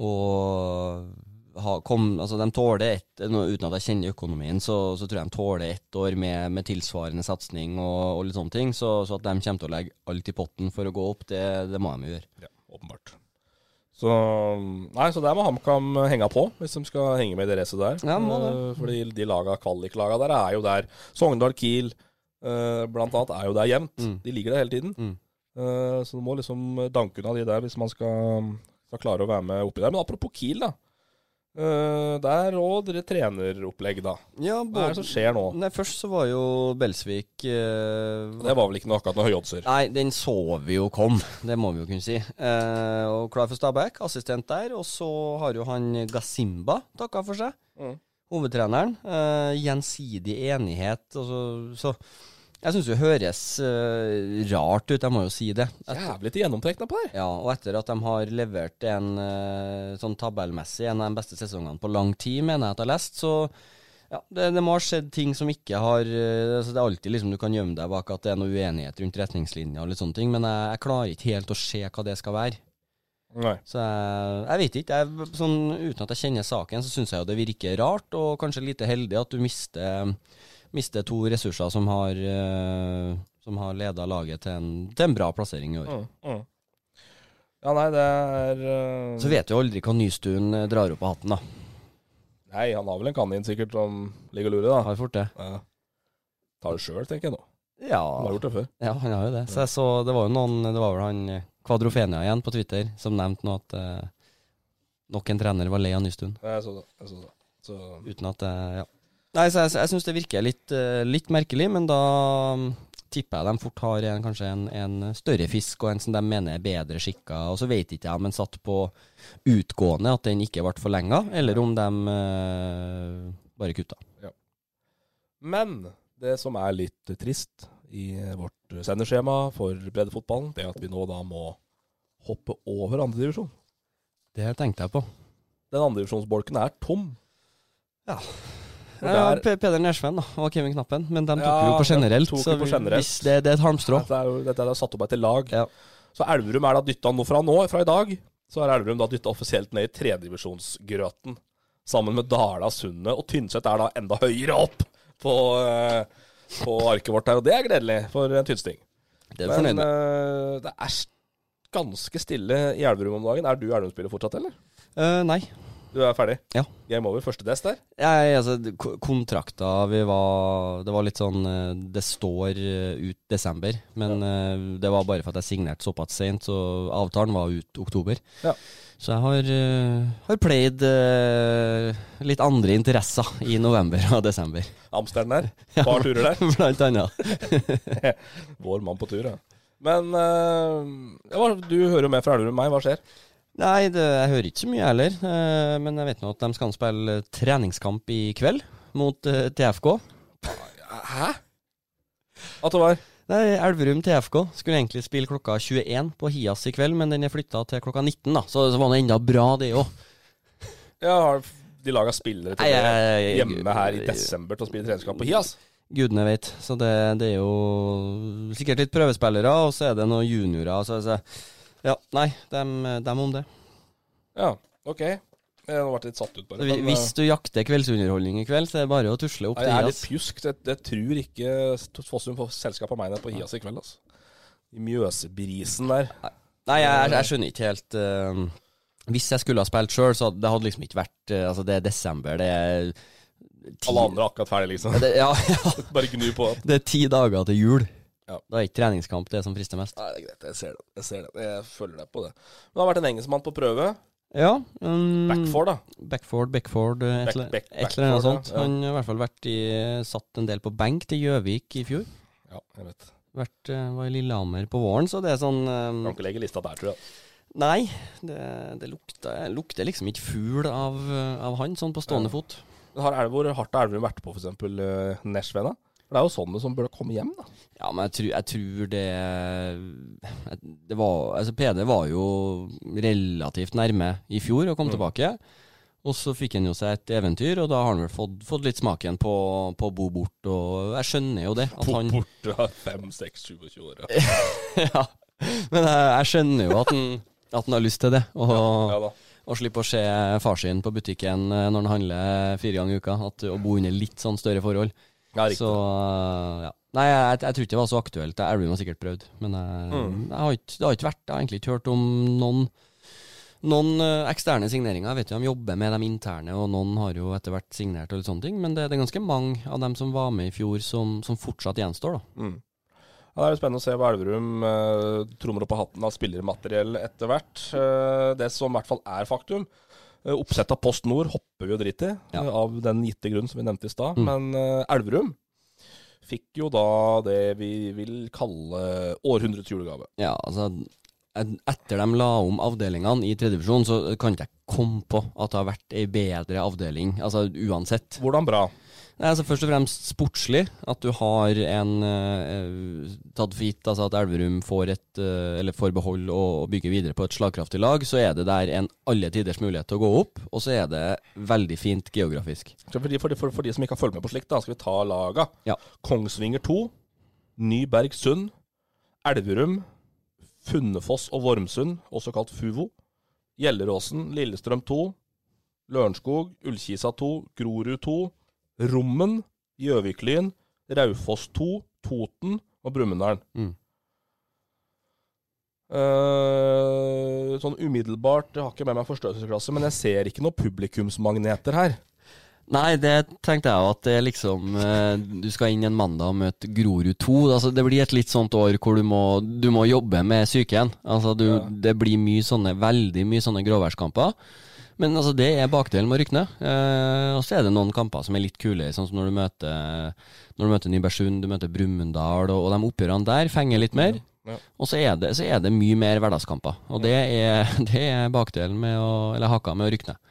[SPEAKER 2] og ha, kom, altså, de tåler et, nå, Uten at jeg kjenner økonomien, så, så tror jeg de tåler ett år med, med tilsvarende satsing og, og litt sånne ting, så, så at de kommer til å legge alt i potten for å gå opp, det, det må de jo gjøre.
[SPEAKER 1] Ja, åpenbart. Så, nei, så der må HamKam henge på, hvis de skal henge med i det racet der.
[SPEAKER 2] Ja, må det.
[SPEAKER 1] Eh, Fordi de laga, kvaliklaga der er jo der. Sogndal, Kiel eh, blant annet er jo der jevnt. De ligger der hele tiden.
[SPEAKER 2] Mm.
[SPEAKER 1] Eh, Så du må liksom danke unna de der hvis man skal, skal klare å være med oppi der. Men apropos Kiel, da. Eh, Der og dere treneropplegg, da.
[SPEAKER 2] Ja,
[SPEAKER 1] Hva er det som skjer nå?
[SPEAKER 2] Nei, først så var jo Belsvik eh,
[SPEAKER 1] Det var vel ikke noe akkurat noe høyoddser.
[SPEAKER 2] Nei, den så vi jo kom, det må vi jo kunne si. Eh, og klar for Stabæk, assistent der. Og så har jo han Gasimba takka for seg. hovedtreneren. Eh, gjensidig enighet. Altså, så jeg syns det høres eh, rart ut, jeg må jo si det. Et,
[SPEAKER 1] Jævlig til gjennomtrekna på der.
[SPEAKER 2] ja, og etter at de har levert en eh, sånn tabellmessig en av de beste sesongene på lang tid, mener jeg at jeg har lest, så ja, det, det må ha skjedd ting som ikke har eh, altså Det er alltid liksom du kan gjemme deg bak at det er noe uenighet rundt retningslinjer og litt sånne ting, men jeg, jeg klarer ikke helt å se hva det skal være.
[SPEAKER 1] Nei.
[SPEAKER 2] Så jeg, jeg vet ikke. Jeg, sånn, uten at jeg kjenner saken, så syns jeg jo det virker rart, og kanskje lite heldig at du mister, mister to ressurser som har, eh, som har leda laget til en, til en bra plassering i år.
[SPEAKER 1] Mm, mm. Ja, nei, det er eh,
[SPEAKER 2] Så vet du jo aldri hva Nystuen eh, drar opp av hatten, da.
[SPEAKER 1] Nei, han har vel en kanin sikkert som ligger og lurer, da.
[SPEAKER 2] Har fort det.
[SPEAKER 1] Ja. Tar det sjøl, tenker jeg nå.
[SPEAKER 2] Ja,
[SPEAKER 1] Han har gjort det før.
[SPEAKER 2] ja, han har jo det. Så jeg så Det var jo noen Det var vel han eh, Kvadrofenia igjen på Twitter som nevnte nå at eh, nok en trener var lei av Nystuen.
[SPEAKER 1] Jeg så det. Jeg så det. Så,
[SPEAKER 2] Uten at jeg Ja. Nei, så jeg, jeg syns det virker litt, eh, litt merkelig, men da mm, tipper jeg de fort har en, kanskje en, en større fisk og en som de mener er bedre skikka. Og så vet ikke jeg om en satt på utgående at den ikke ble forlenga, eller om de eh, bare kutta.
[SPEAKER 1] men det som er litt trist i vårt sendeskjema for breddefotballen, det er at vi nå da må hoppe over andredivisjon.
[SPEAKER 2] Det tenkte jeg på.
[SPEAKER 1] Den andredivisjonsbolken er tom. For
[SPEAKER 2] Ja,
[SPEAKER 1] der-
[SPEAKER 2] Pe- Eh, Peder Nersven da, og Kevin Knappen, men de tok
[SPEAKER 1] Ja,
[SPEAKER 2] jo på
[SPEAKER 1] de
[SPEAKER 2] generelt.
[SPEAKER 1] tok jo
[SPEAKER 2] så
[SPEAKER 1] på
[SPEAKER 2] vi-
[SPEAKER 1] generelt.
[SPEAKER 2] Hvis det, det er et halmstrå.
[SPEAKER 1] Dette er, jo- dette er satt opp etter lag.
[SPEAKER 2] Ja.
[SPEAKER 1] Så Elverum er da dytta nå fra nå, fra i dag, så er Elverum da dytta offisielt ned i tredjedivisjonsgrøten. Sammen med Dala, Sundet og Tynset er da enda høyere opp på, eh, på arket vårt her. Og det er gledelig for en tynsting.
[SPEAKER 2] Det er vi fornøyd
[SPEAKER 1] Men
[SPEAKER 2] med.
[SPEAKER 1] eh, det er s- ganske stille i Elverum om dagen. Er du Elverum-spiller fortsatt, eller?
[SPEAKER 2] Eh, nei.
[SPEAKER 1] Du er ferdig?
[SPEAKER 2] Ja.
[SPEAKER 1] Game over. Første dest der.
[SPEAKER 2] Jeg, altså, d- ko- kontrakta vi var Det var litt sånn eh, Det står eh, ut desember, men eh, det var bare for at jeg signerte såpass seint, så avtalen var ut oktober.
[SPEAKER 1] Ja.
[SPEAKER 2] Så jeg har, eh, har played eh, litt andre interesser i november og desember, [LAUGHS]
[SPEAKER 1] Amsterdam der. Et par turer der.
[SPEAKER 2] blant annet.
[SPEAKER 1] Vår mann på tur, ja. Men eh, ja, hva- du hører jo mer fra Elverum enn meg. Hva skjer?
[SPEAKER 2] Nei, det, jeg hører ikke så mye heller, eh, men jeg vet nå at de skal spille treningskamp i kveld mot eh, TFK.
[SPEAKER 1] Hæ? At det var
[SPEAKER 2] Nei, Elverum TFK skulle egentlig spille klokka 21 på Hias i kveld, men den er flytta til klokka 19, da. Så det var nå enda bra, det òg.
[SPEAKER 1] Ja, har de laga spillere til det hjemme her i desember til å spille treningskamp på Hias?
[SPEAKER 2] Gudene vet. Så det, det er jo sikkert litt prøvespillere, og så er det noen juniorer. Så, så ja, nei, dem, dem om det.
[SPEAKER 1] Ja, OK. Jeg har vært litt satt ut, bare.
[SPEAKER 2] Så, hvi-
[SPEAKER 1] Men,
[SPEAKER 2] hvis du jakter kveldsunderholdning i kveld, så er det bare å tusle
[SPEAKER 1] eh,
[SPEAKER 2] opp
[SPEAKER 1] jeg
[SPEAKER 2] til
[SPEAKER 1] er litt
[SPEAKER 2] Hias.
[SPEAKER 1] pjusk. Jeg, jeg tror ikke Fossum får selskap av meg nede på Hias i kveld, altså. I Mjøsebrisen der.
[SPEAKER 2] Nei, jeg, jeg, jeg skjønner ikke helt eh, Hvis jeg skulle ha spilt sjøl, så hadde det hadde liksom ikke vært eh, Altså, det er desember, det er ti-
[SPEAKER 1] Alle andre er akkurat ferdig, [LAUGHS] liksom.
[SPEAKER 2] det, ja, [LAUGHS] ja.
[SPEAKER 1] Bare gnu på.
[SPEAKER 2] Det er ti dager til jul.
[SPEAKER 1] Ja.
[SPEAKER 2] Da er ikke treningskamp det som frister mest.
[SPEAKER 1] Nei, det er greit. Jeg ser det. Jeg ser det. Jeg følger deg på det. Mm. Men det har vært en engelskmann på prøve.
[SPEAKER 2] Ja. Um,
[SPEAKER 1] Backford, da.
[SPEAKER 2] Backford, Backford, eh, et,
[SPEAKER 1] Back-
[SPEAKER 2] eller-
[SPEAKER 1] back-
[SPEAKER 2] et eller annet
[SPEAKER 1] Backford, ja.
[SPEAKER 2] sånt. Han har i hvert fall vært i, satt en del på benk til Gjøvik i fjor.
[SPEAKER 1] Ja, jeg vet.
[SPEAKER 2] Vært, eh, var i Lillehammer på våren, så det er sånn um,
[SPEAKER 1] Kan ikke legge lista der, tror jeg.
[SPEAKER 2] Nei, det, det lukter, lukter liksom ikke fugl av, eh, av han, sånn på stående
[SPEAKER 1] Ja.
[SPEAKER 2] fot.
[SPEAKER 1] Men har Elv, hvor hardt har Elverum vært på f.eks. Uh, Nesjvena? For det er jo sånne som burde komme hjem, da.
[SPEAKER 2] Ja, men jeg tror, jeg tror det Det var Altså, PD var jo relativt nærme i fjor og kom
[SPEAKER 1] Mm.
[SPEAKER 2] tilbake. Og så fikk han jo seg et eventyr, og da har han vel fått, fått litt smaken på, på å bo bort, og jeg skjønner jo det. At
[SPEAKER 1] Fort
[SPEAKER 2] han,
[SPEAKER 1] bort fra 5-6-27 år. Ja.
[SPEAKER 2] [LAUGHS] ja, men jeg, jeg skjønner jo at han, at han har lyst til det. Og,
[SPEAKER 1] ja da.
[SPEAKER 2] og slippe å se far sin på butikken eh, når han handler fire ganger i uka. At, å bo under litt sånn større forhold.
[SPEAKER 1] Ja, riktig.
[SPEAKER 2] Så eh, ja. Nei, jeg, jeg, jeg tror ikke det var så aktuelt. Elverum har sikkert prøvd. Men jeg, jeg har ikke, det har ikke vært Jeg har egentlig ikke hørt om noen noen eh, eksterne signeringer. Jeg vet jo De jobber med de interne, og noen har jo etter hvert signert. og litt sånne ting Men det, det er ganske mange av dem som var med i fjor, som, som fortsatt gjenstår. da
[SPEAKER 1] Ja, det er jo spennende å se hva Elverum eh, trommer opp av hatten av spillermateriell etter hvert. Eh, det som i hvert fall er faktum. eh, Oppsett av Post Nord hopper vi jo drit i,
[SPEAKER 2] Ja. Mm.
[SPEAKER 1] eh, av den gitte grunn som vi nevnte i stad. Men eh, Elverum fikk jo da det vi vil kalle århundrets julegave.
[SPEAKER 2] Ja, altså en- etter de la om avdelingene i tredje divisjon, så kan ikke jeg komme på at det har vært ei bedre avdeling, altså uansett.
[SPEAKER 1] Hvordan bra?
[SPEAKER 2] Nei, altså Først og fremst sportslig. At du har en eh, tatt for gitt altså at Elverum får et eh, eller får behold og bygge videre på et slagkraftig lag. Så er det der en alle tiders mulighet til å gå opp, og så er det veldig fint geografisk.
[SPEAKER 1] Så For de, for, de, for, for de som ikke har fulgt med på slikt, da, skal vi ta laga.
[SPEAKER 2] Ja.
[SPEAKER 1] Kongsvinger 2, Nybergsund, Elverum, Funnefoss og Vormsund, også kalt Fuvo. Gjelleråsen, Lillestrøm 2, Lørenskog, Ullkisa 2, Grorud 2, Rommen, Gjøviklyn, Raufoss 2, Toten og Brumunddal.
[SPEAKER 2] Mm.
[SPEAKER 1] Eh, sånn umiddelbart, jeg har ikke med meg forstørrelsesklasse, men jeg ser ikke noen publikumsmagneter her.
[SPEAKER 2] Nei, det tenkte jeg jo at det er liksom eh, Du skal inn en mandag og møte Grorud 2. Altså, det blir et litt sånt år hvor du må, du må jobbe med psyken. Altså, du, Det blir mye sånne, veldig mye sånne gråværskamper. Men altså, det er bakdelen med å rykke ned. Eh, og så er det noen kamper som er litt kule, sånn som når du møter, når du møter Nybergsund, du møter Brumunddal, og, og de oppgjørene der fenger litt mer.
[SPEAKER 1] Ja.
[SPEAKER 2] Og så er, det, så er det mye mer hverdagskamper. Og det er, [LAUGHS] det er bakdelen med å, eller haka med å rykke ned.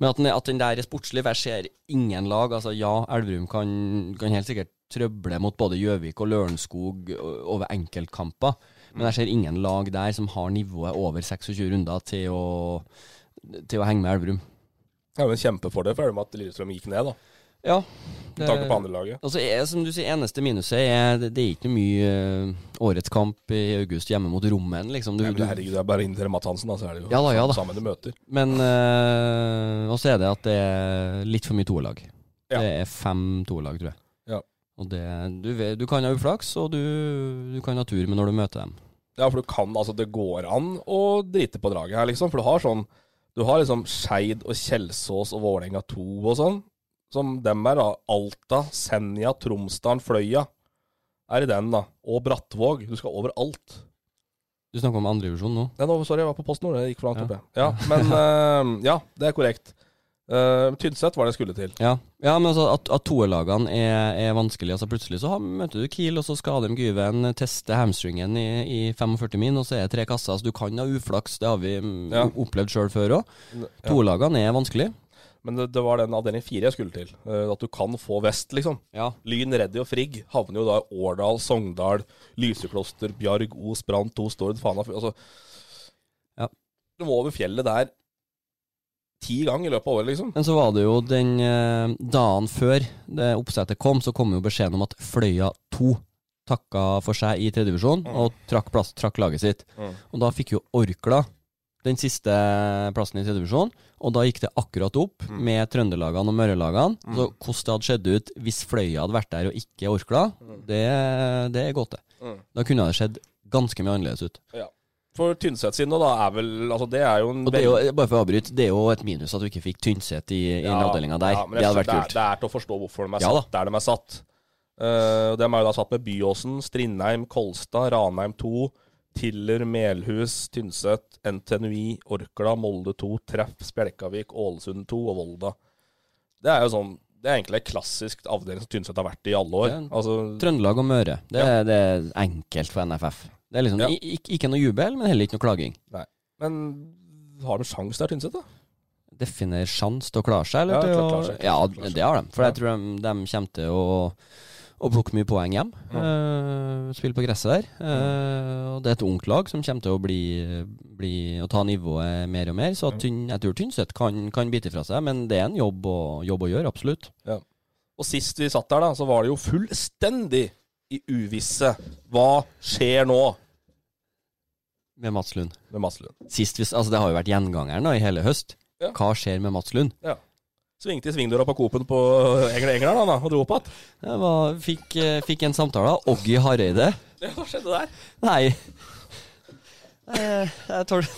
[SPEAKER 2] Men at den, at den der er sportslig, for jeg ser ingen lag. Altså Ja, Elverum kan, kan helt sikkert trøble mot både Gjøvik og Lørenskog ø- over enkeltkamper, men jeg ser ingen lag der som har nivået over 26 runder til å, til å henge med Elverum.
[SPEAKER 1] Det er jo en kjempefordel for Elverum at Lillestrøm gikk ned, da.
[SPEAKER 2] Ja.
[SPEAKER 1] Med tanke på andrelaget.
[SPEAKER 2] Og så er, som du sier, eneste minuset er det, det er ikke mye ø, årets kamp i august hjemme mot Rommen, liksom. Du,
[SPEAKER 1] Men
[SPEAKER 2] du,
[SPEAKER 1] herregud, det er bare inn til Matt Hansen, da, så er det jo
[SPEAKER 2] Ja da, ja da.
[SPEAKER 1] sammen du møter.
[SPEAKER 2] men ø, Og så er det at det er litt for mye toerlag.
[SPEAKER 1] Ja.
[SPEAKER 2] Det er fem toerlag, tror jeg.
[SPEAKER 1] Ja.
[SPEAKER 2] Og det, du, vet- du kan ha uflaks, og du, du kan ha tur med når du møter dem.
[SPEAKER 1] Ja, for du kan, altså det går an å drite på draget her, liksom. For du har sånn Du har liksom Skeid og Kjelsås og Vålerenga 2 og sånn. Som dem er, da. Alta, Senja, Tromsdalen, Fløya. Er i den, da. Og Brattvåg. Du skal overalt.
[SPEAKER 2] Du snakker om andredivisjon nå.
[SPEAKER 1] Nei, nå, sorry, jeg var på posten nå. Det gikk for
[SPEAKER 2] Ja.
[SPEAKER 1] langt opp, jeg. Ja,
[SPEAKER 2] [LAUGHS]
[SPEAKER 1] men eh, Ja, det er korrekt. Eh, Tynset var det jeg skulle til.
[SPEAKER 2] Ja. ja, men altså at, at toerlagene er, er vanskelig. Altså Plutselig så har, møter du Kiel, og så skal de Gyven teste hamstringen i, i 45 min, og så er det tre kasser. Så du kan ha uflaks, det har vi mm,
[SPEAKER 1] Ja.
[SPEAKER 2] opplevd sjøl før òg.
[SPEAKER 1] Ja.
[SPEAKER 2] Toerlagene er vanskelig.
[SPEAKER 1] Men det, det var den avdeling fire jeg skulle til. eh, at du kan få vest, liksom.
[SPEAKER 2] Ja.
[SPEAKER 1] Lyn, Reddy og Frigg havner jo da i Årdal, Sogndal, Lysekloster, Bjarg, Os, Brann 2, Stord, Fana altså,
[SPEAKER 2] Ja.
[SPEAKER 1] Du må over fjellet der ti ganger i løpet av året, liksom.
[SPEAKER 2] Men så var det jo den eh, dagen før det oppsettet kom, så kom jo beskjeden om at Fløya 2 takka for seg i tredjevisjon
[SPEAKER 1] Mm.
[SPEAKER 2] og trakk, plass, trakk laget sitt.
[SPEAKER 1] Mm.
[SPEAKER 2] Og da fikk jo Orkla den siste plassen i tredjevisjon, og da gikk det akkurat opp
[SPEAKER 1] Mm.
[SPEAKER 2] med Trøndelagene og Mørelagene. Så hvordan det hadde skjedd ut hvis Fløya hadde vært der og ikke Orkla, det, det er godt, det.
[SPEAKER 1] Mm.
[SPEAKER 2] Da kunne det skjedd ganske mye annerledes ut.
[SPEAKER 1] For Tynset sin, og da er vel Altså, det er jo en
[SPEAKER 2] Og det er jo, bare for å avbryte, det er jo et minus at du ikke fikk Tynset i, i den avdelinga der.
[SPEAKER 1] ja, men
[SPEAKER 2] det
[SPEAKER 1] jeg
[SPEAKER 2] hadde
[SPEAKER 1] synes
[SPEAKER 2] vært kult.
[SPEAKER 1] Det er, det er til å forstå hvorfor de er
[SPEAKER 2] Ja,
[SPEAKER 1] satt der de er satt. Eh, og de er jo da satt med Byåsen, Strindheim, Kolstad, Ranheim 2, Tiller, Melhus, Tynset, NTNUI, Orkla, Molde 2, Treff, Spjelkavik, Ålesund 2 og Volda. Det er jo sånn Det er egentlig en klassisk avdeling som Tynset har vært i alle år.
[SPEAKER 2] Det er en
[SPEAKER 1] Altså,
[SPEAKER 2] Trøndelag og Møre. Det,
[SPEAKER 1] Ja.
[SPEAKER 2] er- det er enkelt for NFF. Det er liksom
[SPEAKER 1] Ja.
[SPEAKER 2] i- ikke, ikke noe jubel, men heller ikke noe klaging.
[SPEAKER 1] men har de sjans der, Tynset? da?
[SPEAKER 2] Definer sjans til å klare seg, eller?
[SPEAKER 1] Ja,
[SPEAKER 2] til
[SPEAKER 1] klart
[SPEAKER 2] å-
[SPEAKER 1] klare seg, klart
[SPEAKER 2] ja
[SPEAKER 1] klare seg.
[SPEAKER 2] det har de. For
[SPEAKER 1] Ja.
[SPEAKER 2] jeg tror de, de kommer til å, å plukke mye poeng hjem. Eh, spille på gresset der. Eh, og det er et ungt lag som kommer til å bli, bli å ta nivået mer og mer. Så tynn, jeg tror Tynset kan, kan bite fra seg, men det er en jobb å, jobb å gjøre, absolutt.
[SPEAKER 1] Og sist vi satt der, da, så var det jo fullstendig i uvisse. Hva skjer nå
[SPEAKER 2] Med Mats Lund.
[SPEAKER 1] med Maslund?
[SPEAKER 2] Sist, hvis, altså, det har jo vært gjengangeren da, i hele høst.
[SPEAKER 1] Ja.
[SPEAKER 2] Hva skjer med Mats Lund?
[SPEAKER 1] Svingte i svingdøra på Coop-en på Engel Engler da, da, og dro opp igjen.
[SPEAKER 2] Jeg var, fikk, eh, fikk en samtale av Oggy Hareide.
[SPEAKER 1] Hva skjedde der?
[SPEAKER 2] Nei. Eh, Jeg tål,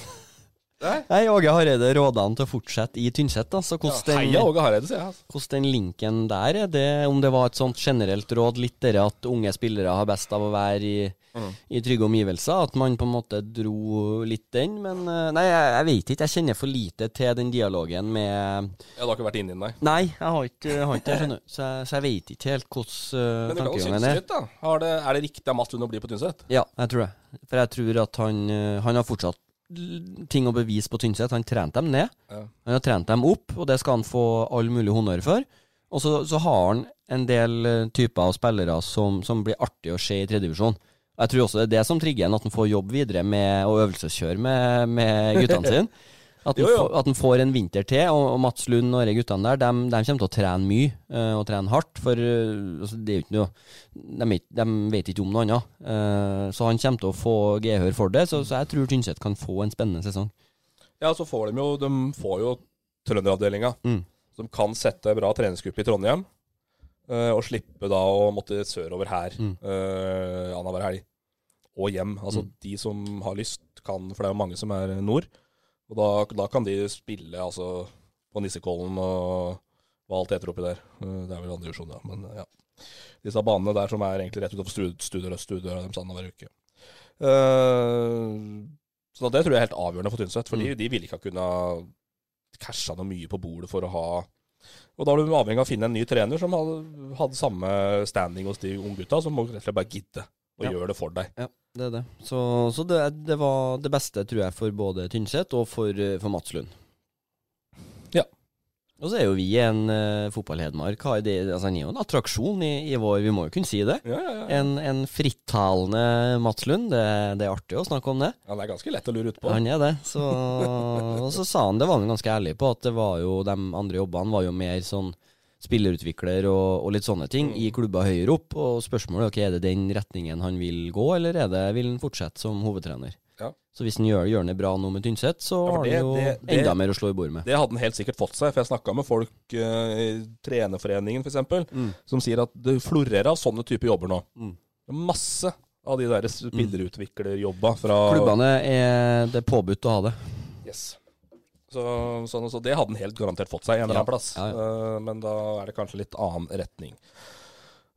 [SPEAKER 2] Nei, Åge Hareide råda han til å fortsette i Tynset. da, så hvordan
[SPEAKER 1] Heia
[SPEAKER 2] den,
[SPEAKER 1] Åge Hareide, sier jeg. Altså.
[SPEAKER 2] hvordan den linken der er, det, om det var et sånt generelt råd, litt det at unge spillere har best av å være i,
[SPEAKER 1] Mm.
[SPEAKER 2] i trygge omgivelser, at man på en måte dro litt den, men eh, Nei, jeg, jeg vet ikke, jeg kjenner for lite til den dialogen med
[SPEAKER 1] Jeg har ikke vært inni den, nei.
[SPEAKER 2] Nei, jeg har ikke, jeg har ikke det, skjønner du. Så jeg, så jeg vet ikke helt hvordan uh,
[SPEAKER 1] Men du kan jo
[SPEAKER 2] tankegangen
[SPEAKER 1] synes
[SPEAKER 2] er.
[SPEAKER 1] litt, da. Har det, er det riktig av Mats Lund å bli på Tynset?
[SPEAKER 2] Ja, jeg tror det. For jeg tror at han, eh, han har fortsatt l- ting å bevise på Tynset. Han trente dem ned.
[SPEAKER 1] Ja.
[SPEAKER 2] Han har trent dem opp, og det skal han få all mulig honnør for. Og så, så har han en del eh, typer av spillere som, som blir artig å se i tredjevisjon. Jeg tror også det er det som trigger en, at han får jobb videre med å øvelseskjøre med, med guttene
[SPEAKER 1] [LAUGHS]
[SPEAKER 2] sine. At han,
[SPEAKER 1] Jo, jo.
[SPEAKER 2] får- at han får en vinter til, og, og Mats Lund og de guttene der, de, kommer til å trene mye, eh, og trene hardt, for eh, altså, det er jo ikke noe de, vet- de vet ikke om noe annet. Eh, så han kommer til å få gehør for det, så, så jeg tror Tynset kan få en spennende sesong.
[SPEAKER 1] Ja, så får de jo, de får jo trønderavdelinga,
[SPEAKER 2] Mm.
[SPEAKER 1] som kan sette bra treningsgruppe i Trondheim. eh, og slippe da å måtte sørover her mm. annenhver helg. Og hjem. Altså de som har lyst, kan, for det er jo mange som er nord. Og da, da kan de spille altså, på Nissekollen og hva alt heter oppi der. Eh, det er vel andre divisjon, ja. Men eh, ja. Disse banene der som er egentlig rett utenfor stud- studier og studier, de sa annenhver uke. Eh, så det tror jeg er helt avgjørende for Tynset. For de, de ville ikke ha kunnet casha noe mye på bordet for å ha Og da er du avhengig av å finne en ny trener som hadde, hadde samme standing hos de unggutta, som må rett og slett bare gidde å
[SPEAKER 2] Ja.
[SPEAKER 1] gjøre det for deg.
[SPEAKER 2] Ja, det er det. Så, så det, det var det beste, tror jeg, for både Tynset og for, eh, for Mats Lund.
[SPEAKER 1] Ja.
[SPEAKER 2] Og så er jo vi en uh, fotballhedmark. har det- Altså, han er jo en attraksjon i, i vår, vi må jo kunne si det.
[SPEAKER 1] Ja, ja, ja.
[SPEAKER 2] En, en frittalende Mats Lund, det, det er artig å snakke om det.
[SPEAKER 1] Han er ganske lett å lure utpå.
[SPEAKER 2] Han er det. Så, og så sa han, det var han ganske ærlig på, at det var jo de andre jobbene var jo mer sånn spillerutvikler og, og litt sånne ting i
[SPEAKER 1] Mm.
[SPEAKER 2] klubber høyere opp. Og spørsmålet er ok, er det den retningen han vil gå, eller er det, vil han fortsette som hovedtrener?
[SPEAKER 1] Ja.
[SPEAKER 2] Så hvis han gjør, gjør det bra nå med Tynset, så
[SPEAKER 1] Ja, for
[SPEAKER 2] har
[SPEAKER 1] det-
[SPEAKER 2] han jo
[SPEAKER 1] det- det-
[SPEAKER 2] enda mer å slå i bordet med.
[SPEAKER 1] Det hadde han helt sikkert fått seg, for jeg snakka med folk eh, i trenerforeningen f.eks., som sier at det florerer av sånne typer jobber nå. Masse av de der spillerutviklerjobba fra
[SPEAKER 2] Klubbene er det er påbudt å ha det.
[SPEAKER 1] Yes. Så, sånn- så det hadde han helt garantert fått seg en eller
[SPEAKER 2] Ja.
[SPEAKER 1] annen plass.
[SPEAKER 2] Ja,
[SPEAKER 1] Eh, men da er det kanskje litt annen retning.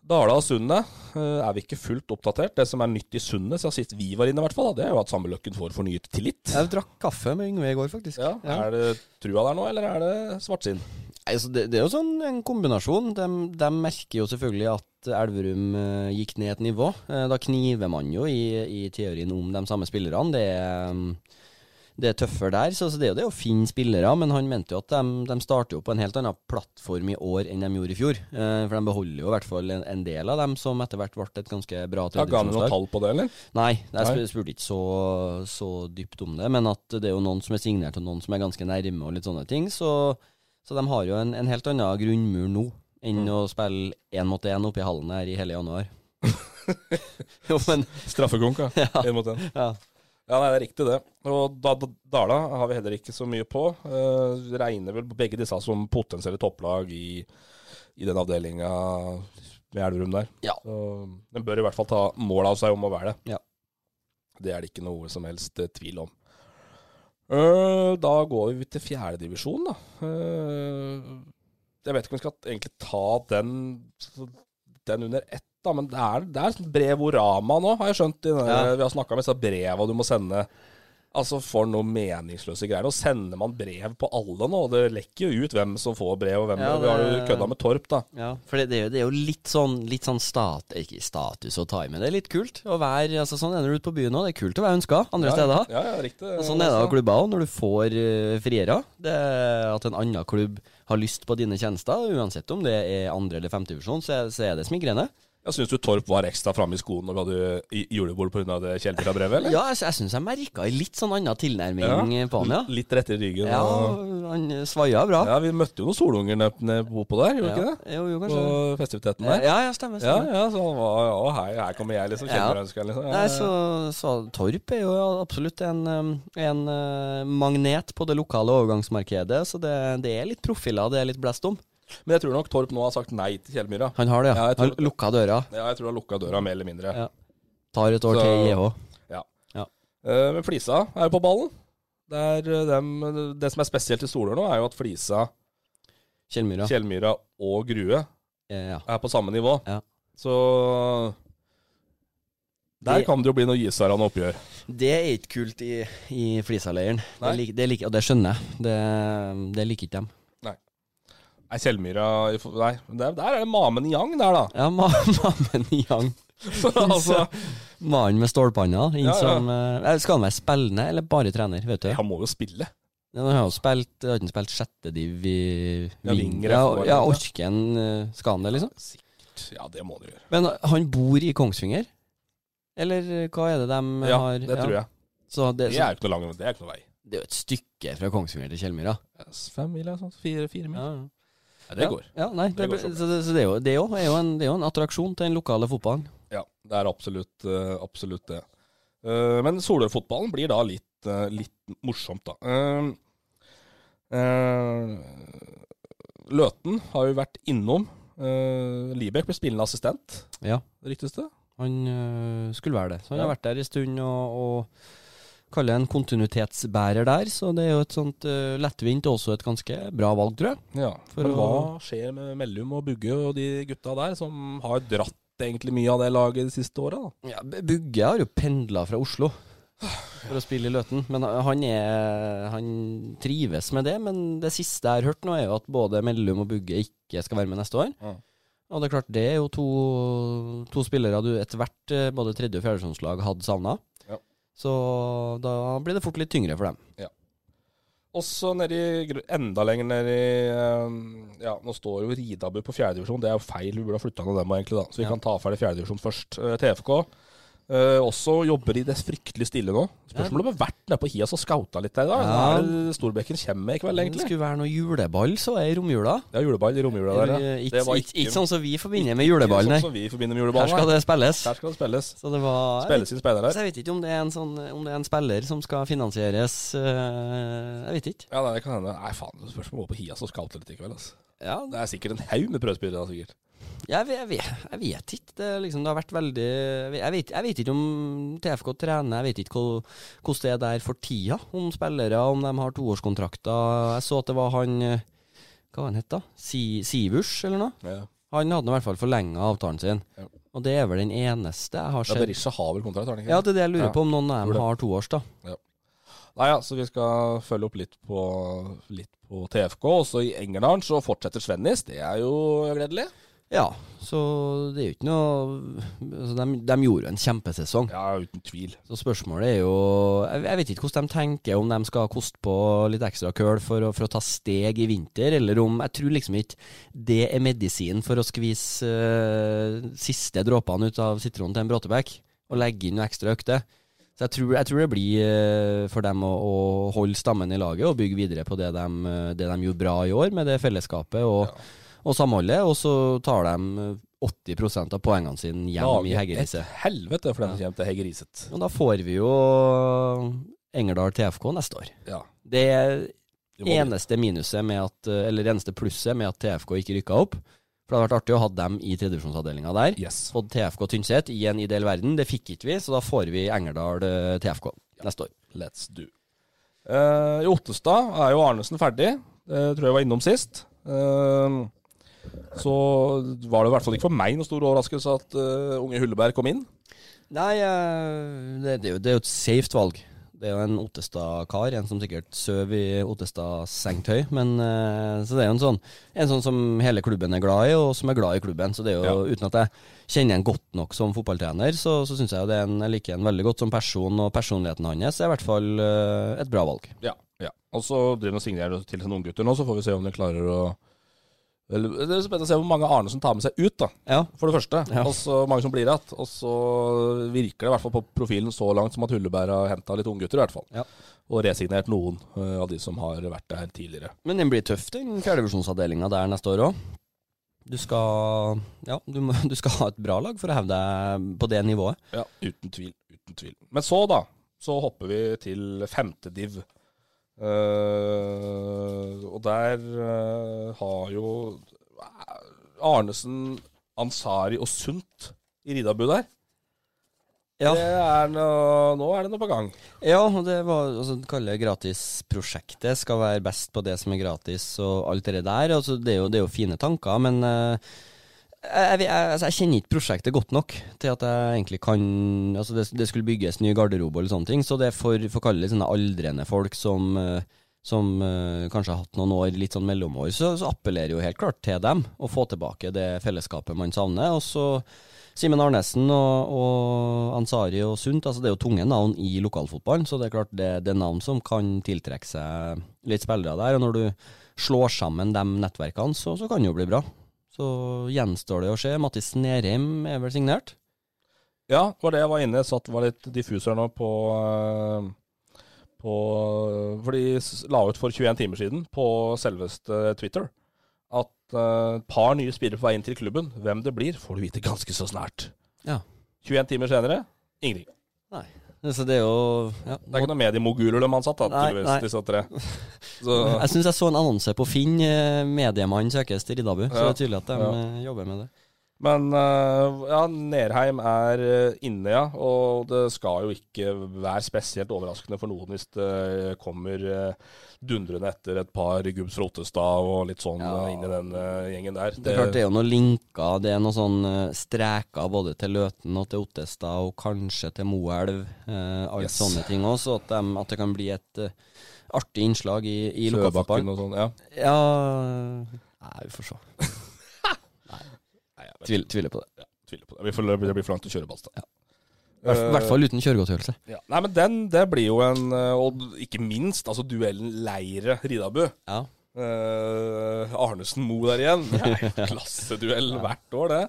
[SPEAKER 1] Dala og Sundet eh, er vi ikke fullt oppdatert. Det som er nytt i Sundet siden sist vi var inne, i hvert fall, da, det er jo at Sammeløkken får fornyet tillit.
[SPEAKER 2] Jeg drakk kaffe med Yngve i går, faktisk.
[SPEAKER 1] Ja, Er det trua der nå, eller er det svartsinn?
[SPEAKER 2] Nei, så det, det er jo sånn en kombinasjon. De, de merker jo selvfølgelig at Elverum eh, gikk ned et nivå. Eh, da kniver man jo i, i teorien om de samme spillerne. Det er, mm, det er tøffere der. Så, så det er jo det å finne spillere. Men han mente jo at de, de starter jo på en helt annen plattform i år enn de gjorde i fjor. Eh, for de beholder jo i hvert fall en, en del av dem som etter hvert ble et ganske bra
[SPEAKER 1] Ja, Ga han noen
[SPEAKER 2] tredjevisjonslag.
[SPEAKER 1] tall på det, eller?
[SPEAKER 2] Nei, jeg
[SPEAKER 1] Nei.
[SPEAKER 2] sp- spurte ikke så, så dypt om det, men at det er jo noen som er signert, og noen som er ganske nærme, og litt sånne ting. Så, så de har jo en, en helt annen grunnmur nå enn
[SPEAKER 1] Mm.
[SPEAKER 2] å spille én mot én oppe i hallen her i hele
[SPEAKER 1] [LAUGHS]
[SPEAKER 2] januar. jo, men
[SPEAKER 1] Straffekonk, ja. [LAUGHS] En mot en.
[SPEAKER 2] ja.
[SPEAKER 1] Ja, nei, det er riktig det. Og da, da, Dala har vi heller ikke så mye på. Eh, regner vel begge disse som potensielle topplag i, i den avdelinga med Elverum der.
[SPEAKER 2] Ja.
[SPEAKER 1] Så den bør i hvert fall ta mål av seg om å være det.
[SPEAKER 2] Ja.
[SPEAKER 1] Det er det ikke noe som helst eh, tvil om. Eh, da går vi til fjerdedivisjon, da. Eh, jeg vet ikke om vi skal egentlig ta den, den under ett, da, men det er, det er sånn brevorama nå, har jeg skjønt. I den, eh,
[SPEAKER 2] Ja.
[SPEAKER 1] Vi har snakka om disse breva du må sende. Altså For noe meningsløse greier. Nå sender man brev på alle nå, og det lekker jo ut hvem som får brev, og hvem
[SPEAKER 2] Ja,
[SPEAKER 1] Vi har jo
[SPEAKER 2] det-
[SPEAKER 1] kødda med Torp, da.
[SPEAKER 2] ja. For det, det, er jo, det er jo litt sånn, litt sånn stat, ikke status å ta i, men det er litt kult å være altså, Sånn er det ute på byen òg, det er kult å være ønska andre steder.
[SPEAKER 1] Ja, ja, riktig.
[SPEAKER 2] Og Sånn er det av klubber òg, når du får eh, friere. Det er at en annen klubb har lyst på dine tjenester, uansett om det er andre- eller femtedivisjon, så, er- så er det smigrende.
[SPEAKER 1] Jeg syns du Torp var ekstra framme i skoen når vi hadde i- julebord pga. det Kjell-brevet, eller?
[SPEAKER 2] Ja, jeg, jeg syns jeg merka en litt sånn annen tilnærming eh, på han, ja.
[SPEAKER 1] Litt rett i ryggen.
[SPEAKER 2] Ja,
[SPEAKER 1] og-
[SPEAKER 2] han eh, svaia bra.
[SPEAKER 1] ja, vi møtte jo noen solunger nede nede på Opo der, gjorde vi ikke det?
[SPEAKER 2] Jo, jo, kanskje. det.
[SPEAKER 1] På festiviteten der.
[SPEAKER 2] Ja, ja, stemmer.
[SPEAKER 1] Ja,
[SPEAKER 2] stemmer.
[SPEAKER 1] ja, så han var ja, hei, her kommer jeg, liksom.
[SPEAKER 2] Ja.
[SPEAKER 1] Kjenner jeg ønsker, liksom. Ja,
[SPEAKER 2] Nei,
[SPEAKER 1] ja.
[SPEAKER 2] så, så Torp er jo absolutt en, eh, en eh, magnet på det lokale overgangsmarkedet, så det, det er litt profiler det er litt blest om.
[SPEAKER 1] Eh, Men jeg tror nok Torp nå har sagt nei til Kjellmyra.
[SPEAKER 2] Han har det,
[SPEAKER 1] Ja,
[SPEAKER 2] ja.
[SPEAKER 1] jeg tror-
[SPEAKER 2] han lukka døra.
[SPEAKER 1] Ja, jeg tror han lukka døra mer eller mindre.
[SPEAKER 2] Ja. Tar et år
[SPEAKER 1] Så-
[SPEAKER 2] til i E JH.
[SPEAKER 1] Ja.
[SPEAKER 2] Ja.
[SPEAKER 1] Eh, men Flisa er på ballen. Der, eh, dem, det som er spesielt i Solør nå, er jo at Flisa,
[SPEAKER 2] Kjellmyra.
[SPEAKER 1] Kjellmyra og Grue
[SPEAKER 2] Eh, ja.
[SPEAKER 1] er på samme nivå.
[SPEAKER 2] Ja.
[SPEAKER 1] Så der
[SPEAKER 2] Det-
[SPEAKER 1] kan det jo bli noe gisarende oppgjør.
[SPEAKER 2] Det er ikke kult i, i Flisaleiren. Det
[SPEAKER 1] Nei.
[SPEAKER 2] lik, det lik, og det skjønner jeg. Det, det liker ikke dem.
[SPEAKER 1] Nei, Kjellmyra i fo- Nei, der, der er det Mamen Yang der, da.
[SPEAKER 2] Ja, ma- [LAUGHS] Mammen Yang.
[SPEAKER 1] [LAUGHS] Så, [LAUGHS] altså,
[SPEAKER 2] Mannen med stålpanna. inn
[SPEAKER 1] Ja, ja.
[SPEAKER 2] Som, eh, skal han være spillende eller bare trener? Vet du?
[SPEAKER 1] han må jo spille.
[SPEAKER 2] Han har jo spilt, har ikke han spilt sjettediv i
[SPEAKER 1] Ja,
[SPEAKER 2] Ving-
[SPEAKER 1] Vinger er
[SPEAKER 2] Ja,
[SPEAKER 1] forhånd,
[SPEAKER 2] ja,
[SPEAKER 1] ja.
[SPEAKER 2] orker han eh, Skal han det, liksom?
[SPEAKER 1] Ja, det må han gjøre.
[SPEAKER 2] Men han bor i Kongsvinger? Eller eh, hva er det de
[SPEAKER 1] Ja,
[SPEAKER 2] har
[SPEAKER 1] det tror jeg.
[SPEAKER 2] Så det,
[SPEAKER 1] Det
[SPEAKER 2] så,
[SPEAKER 1] er jo ikke noe lang Det er ikke noe vei.
[SPEAKER 2] det er jo et stykke fra Kongsvinger til Kjellmyra.
[SPEAKER 1] Fem mil eller sånt. Fire, fire mil.
[SPEAKER 2] Ja,
[SPEAKER 1] Ja, det går.
[SPEAKER 2] Ja, nei, det,
[SPEAKER 1] Det går
[SPEAKER 2] blir-
[SPEAKER 1] så
[SPEAKER 2] så, det, så det er jo, det er jo, er jo, en, det er jo en attraksjon til den lokale fotballen.
[SPEAKER 1] Ja, det er absolutt, eh, absolutt det. Eh, men Solør-fotballen blir da litt, eh, litt morsomt, da. Eh, eh, Løten har jo vært innom. Uh, Libek blir spillende assistent,
[SPEAKER 2] Ja.
[SPEAKER 1] riktigste.
[SPEAKER 2] Han øh, skulle være det. Så han
[SPEAKER 1] Ja.
[SPEAKER 2] har vært der en stund og, og kaller det en kontinuitetsbærer der. Så det er jo et sånt øh, lettvint og også et ganske bra valg, tror jeg.
[SPEAKER 1] Ja,
[SPEAKER 2] For
[SPEAKER 1] men
[SPEAKER 2] å-
[SPEAKER 1] hva skjer med Mellum og Bugge og de gutta der, som har dratt egentlig mye av det laget de siste åra? da?
[SPEAKER 2] Ja, B- Bugge har jo pendla fra Oslo for å spille i Løten. Men han, er, han trives med det. Men det siste jeg har hørt nå, er jo at både Mellum og Bugge ikke skal være med neste år.
[SPEAKER 1] Mm.
[SPEAKER 2] Og det er klart, det er jo to, to spillere du etter hvert, eh, både tredje- og fjerdedivisjonslag, hadde savna.
[SPEAKER 1] Ja.
[SPEAKER 2] Så da blir det fort litt tyngre for dem.
[SPEAKER 1] Også nedi, gr- enda lenger nedi eh, Ja, nå står jo Ridabu på fjerdedivisjon. Det er jo feil, vi burde ha flytta ned dem egentlig, da. Så vi
[SPEAKER 2] Ja.
[SPEAKER 1] kan ta ferdig fjerdedivisjon først. Eh, TFK eh, også jobber i det fryktelig stille nå. Spørs om det har vært nede på Hias og scouta litt der i dag.
[SPEAKER 2] Ja.
[SPEAKER 1] Det er Storbekken kommer med i kveld,
[SPEAKER 2] Det
[SPEAKER 1] egentlig.
[SPEAKER 2] skulle være noe juleball, så er i romjula.
[SPEAKER 1] Det er juleball i romjula der, ja.
[SPEAKER 2] Eller, eh, Ikke
[SPEAKER 1] Det var
[SPEAKER 2] ikke- ikke sånn som vi forbinder med juleball,
[SPEAKER 1] Sånn
[SPEAKER 2] nei.
[SPEAKER 1] som vi forbinder med
[SPEAKER 2] Her
[SPEAKER 1] juleball.
[SPEAKER 2] skal
[SPEAKER 1] nei.
[SPEAKER 2] det spilles.
[SPEAKER 1] Her skal det spilles.
[SPEAKER 2] Så det var
[SPEAKER 1] Spilles inn spillere
[SPEAKER 2] Så
[SPEAKER 1] her.
[SPEAKER 2] jeg vet ikke om det er en, sånn, om det er en spiller som skal finansieres eh, Jeg vet ikke.
[SPEAKER 1] Ja, nei, det kan hende. Nei, faen, det spørs om vi går på Hias og scouter litt i kveld, altså.
[SPEAKER 2] Ja,
[SPEAKER 1] Det er sikkert en haug med prøvespillere, da, sikkert.
[SPEAKER 2] jeg, ve- jeg, ve- jeg vet ikke. Det, er liksom, det har vært veldig jeg vet, jeg vet ikke om TFK trener, jeg vet ikke hvor- hvordan det er der for tida. Om spillere, om de har toårskontrakter. Jeg så at det var han eh, Hva var han het, da? Si, Sivers, eller noe?
[SPEAKER 1] Ja.
[SPEAKER 2] Han hadde nå i hvert fall forlenga avtalen sin.
[SPEAKER 1] Ja.
[SPEAKER 2] Og det er vel den eneste jeg har
[SPEAKER 1] Ja,
[SPEAKER 2] sett.
[SPEAKER 1] Berisha har vel kontrakt, har han ikke?
[SPEAKER 2] Ja, det er det jeg lurer
[SPEAKER 1] Ja.
[SPEAKER 2] på, om noen av
[SPEAKER 1] Tror det.
[SPEAKER 2] dem har toårs, da.
[SPEAKER 1] Nei, ja, så vi skal følge opp litt på, litt på TFK. Også i Engerdalen så fortsetter Svennis. Det er jo gledelig.
[SPEAKER 2] Ja, så det er jo ikke noe altså de, de gjorde jo en kjempesesong.
[SPEAKER 1] Ja, uten tvil.
[SPEAKER 2] Så spørsmålet er jo Jeg, jeg vet ikke hvordan de tenker, om de skal koste på litt ekstra køl for å, for å ta steg i vinter, eller om Jeg tror liksom ikke det er medisin for å skvise eh, siste dråpene ut av sitronen til en Bråtebekk, og legge inn noen ekstra økter. Så jeg tror, jeg tror det blir eh, for dem å, å holde stammen i laget og bygge videre på det de, eh, det de gjorde bra i år, med det fellesskapet og, og samholdet, og så tar de eh, 80 av poengene sine hjem i Heggerise.
[SPEAKER 1] Et helvete for den som kommer til Heggeriset.
[SPEAKER 2] Og da får vi jo Engerdal TFK neste år.
[SPEAKER 1] Ja.
[SPEAKER 2] Det er
[SPEAKER 1] det må vi-
[SPEAKER 2] eneste minuset med at, eller eneste plusset med at TFK ikke rykka opp. For det hadde vært artig å ha dem i tredjevisjonsavdelinga der.
[SPEAKER 1] Yes.
[SPEAKER 2] Fått TFK Tynset i en ideell verden. Det fikk ikke vi, så da får vi Engerdal eh, TFK neste år.
[SPEAKER 1] Let's do. Eh, I Ottestad er jo Arnesen ferdig. Det tror jeg var innom sist. Eh, så var det i hvert fall ikke for meg noen stor overraskelse at eh, unge Hulleberg kom inn.
[SPEAKER 2] Nei, eh, det, det, er jo, det er jo et safet valg. Det er jo en Ottestad-kar, en som sikkert søv i Ottestad-sengetøy. Men eh, Så det er jo en sånn En sånn som hele klubben er glad i, og som er glad i klubben. Så det er jo, uten at jeg kjenner han godt nok som fotballtrener, så, så syns jeg jo det er en, jeg liker han veldig godt som person, og personligheten hans er i hvert fall eh, et bra valg.
[SPEAKER 1] Ja. ja. Og så driver han og signerer til sine unggutter nå, så får vi se om de klarer å Eller, Det er spennende å se hvor mange Arnesen tar med seg ut, da.
[SPEAKER 2] Ja.
[SPEAKER 1] For det første,
[SPEAKER 2] Ja.
[SPEAKER 1] og så mange som blir igjen. Og så virker det i hvert fall på profilen så langt som at Hullebær har henta litt unggutter, i hvert fall.
[SPEAKER 2] Ja.
[SPEAKER 1] Og resignert noen eh, av de som har vært der tidligere.
[SPEAKER 2] Men den blir tøff, den fjerdedivisjonsavdelinga der neste år òg. Du skal Ja, du, må, [LAUGHS] du skal ha et bra lag for å hevde deg på det nivået.
[SPEAKER 1] Ja, uten tvil. Uten tvil. Men så, da, så hopper vi til femte div. Eh, og der eh, har jo eh, Arnesen, Ansari og Sundt i Ridabu der.
[SPEAKER 2] Ja.
[SPEAKER 1] Det er noe, nå er det noe på gang.
[SPEAKER 2] Ja, og det var altså, det kaller jeg gratisprosjektet. Skal være best på det som er gratis, og alt det der. Altså, det, er jo, det er jo fine tanker, men eh, jeg, jeg, altså, jeg kjenner ikke prosjektet godt nok til at jeg egentlig kan Altså, det, det skulle bygges ny garderobe og litt sånne ting, så det er for, for kalle det sånne aldrende folk som eh, som eh, kanskje har hatt noen år, litt sånn mellomår, så, så appellerer jo helt klart til dem å få tilbake det fellesskapet man savner. Og så Simen Arnesen og, og Ansari og Sundt, altså det er jo tunge navn i lokalfotballen, så det er klart det, det er navn som kan tiltrekke seg litt spillere der. Og når du slår sammen de nettverkene, så, så kan det jo bli bra. Så gjenstår det å se. Mattis Nerheim er vel signert?
[SPEAKER 1] Ja, det var det jeg var inne. Jeg satt var litt diffus her nå på, eh, på For de s- la ut for 21 timer siden på selveste Twitter at eh, et par nye spillere på vei inn til klubben. Hvem det blir, får du vite ganske så snart.
[SPEAKER 2] Ja.
[SPEAKER 1] 21 timer senere ingenting.
[SPEAKER 2] Så det er jo ja,
[SPEAKER 1] Det er ikke noen mediemoguler de ansatt, da,
[SPEAKER 2] Nei,
[SPEAKER 1] tydeligvis,
[SPEAKER 2] nei.
[SPEAKER 1] disse
[SPEAKER 2] [LAUGHS]
[SPEAKER 1] tre. Så
[SPEAKER 2] Jeg syns jeg så en annonse på Finn. eh, Mediemann søkes til Riddabu. Så
[SPEAKER 1] Ja.
[SPEAKER 2] det er tydelig at de
[SPEAKER 1] Ja.
[SPEAKER 2] eh, jobber med det.
[SPEAKER 1] Men eh, ja, Nerheim er eh, inne, ja. Og det skal jo ikke være spesielt overraskende for noen hvis det kommer eh, dundrende etter et par Gubbs fra Ottestad og litt sånn
[SPEAKER 2] Ja.
[SPEAKER 1] eh, inn i den eh, gjengen der.
[SPEAKER 2] Det er klart det er jo noen linker, det er noen sånn eh, streker både til Løten og til Ottestad og kanskje til Moelv. Eh, alle
[SPEAKER 1] Yes.
[SPEAKER 2] sånne ting òg, så at, dem- at det kan bli et eh, artig innslag i, i
[SPEAKER 1] Søbakken
[SPEAKER 2] lokalfotballen.
[SPEAKER 1] og sånn, ja.
[SPEAKER 2] Ja Nei, vi får se.
[SPEAKER 1] Nei, jeg vet
[SPEAKER 2] Tvil, tviler på det.
[SPEAKER 1] ikke. Tviler på det. Vi får, det blir for langt å kjøre Balstad.
[SPEAKER 2] I hvert, hvert fall uten kjøregodtgjørelse.
[SPEAKER 1] Ja. Nei, men den, det blir jo en eh, Og ikke minst, altså duellen Leire-Ridabu.
[SPEAKER 2] Ja.
[SPEAKER 1] Eh, Arnesen-Moe der igjen. Det er jo [LAUGHS] klasseduell hvert år, det.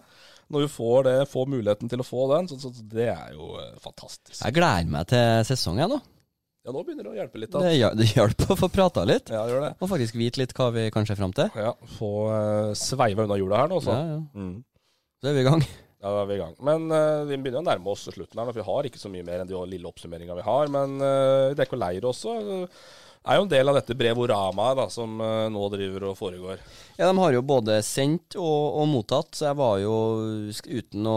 [SPEAKER 1] Når du får det, får muligheten til å få den, så, så det er jo eh, fantastisk.
[SPEAKER 2] Jeg gleder meg til sesongen, nå.
[SPEAKER 1] Ja, nå begynner det å hjelpe litt. Da.
[SPEAKER 2] Det, hjel- [LAUGHS] det hjelper å få prata litt.
[SPEAKER 1] Ja, gjør det.
[SPEAKER 2] Og faktisk vite litt hva vi kan se fram til.
[SPEAKER 1] Ja, Få eh, sveiva unna hjula her nå, så.
[SPEAKER 2] Ja, ja.
[SPEAKER 1] Mm.
[SPEAKER 2] Så er vi i gang.
[SPEAKER 1] Ja, da er vi i gang. Men eh, vi begynner å nærme oss slutten her, nå, for vi har ikke så mye mer enn de lille oppsummeringa vi har. Men eh, vi dekker leir også. Det er jo en del av dette brevoramaet da, som eh, nå driver og foregår.
[SPEAKER 2] Ja, De har jo både sendt og, og mottatt, så jeg var jo sk- uten å,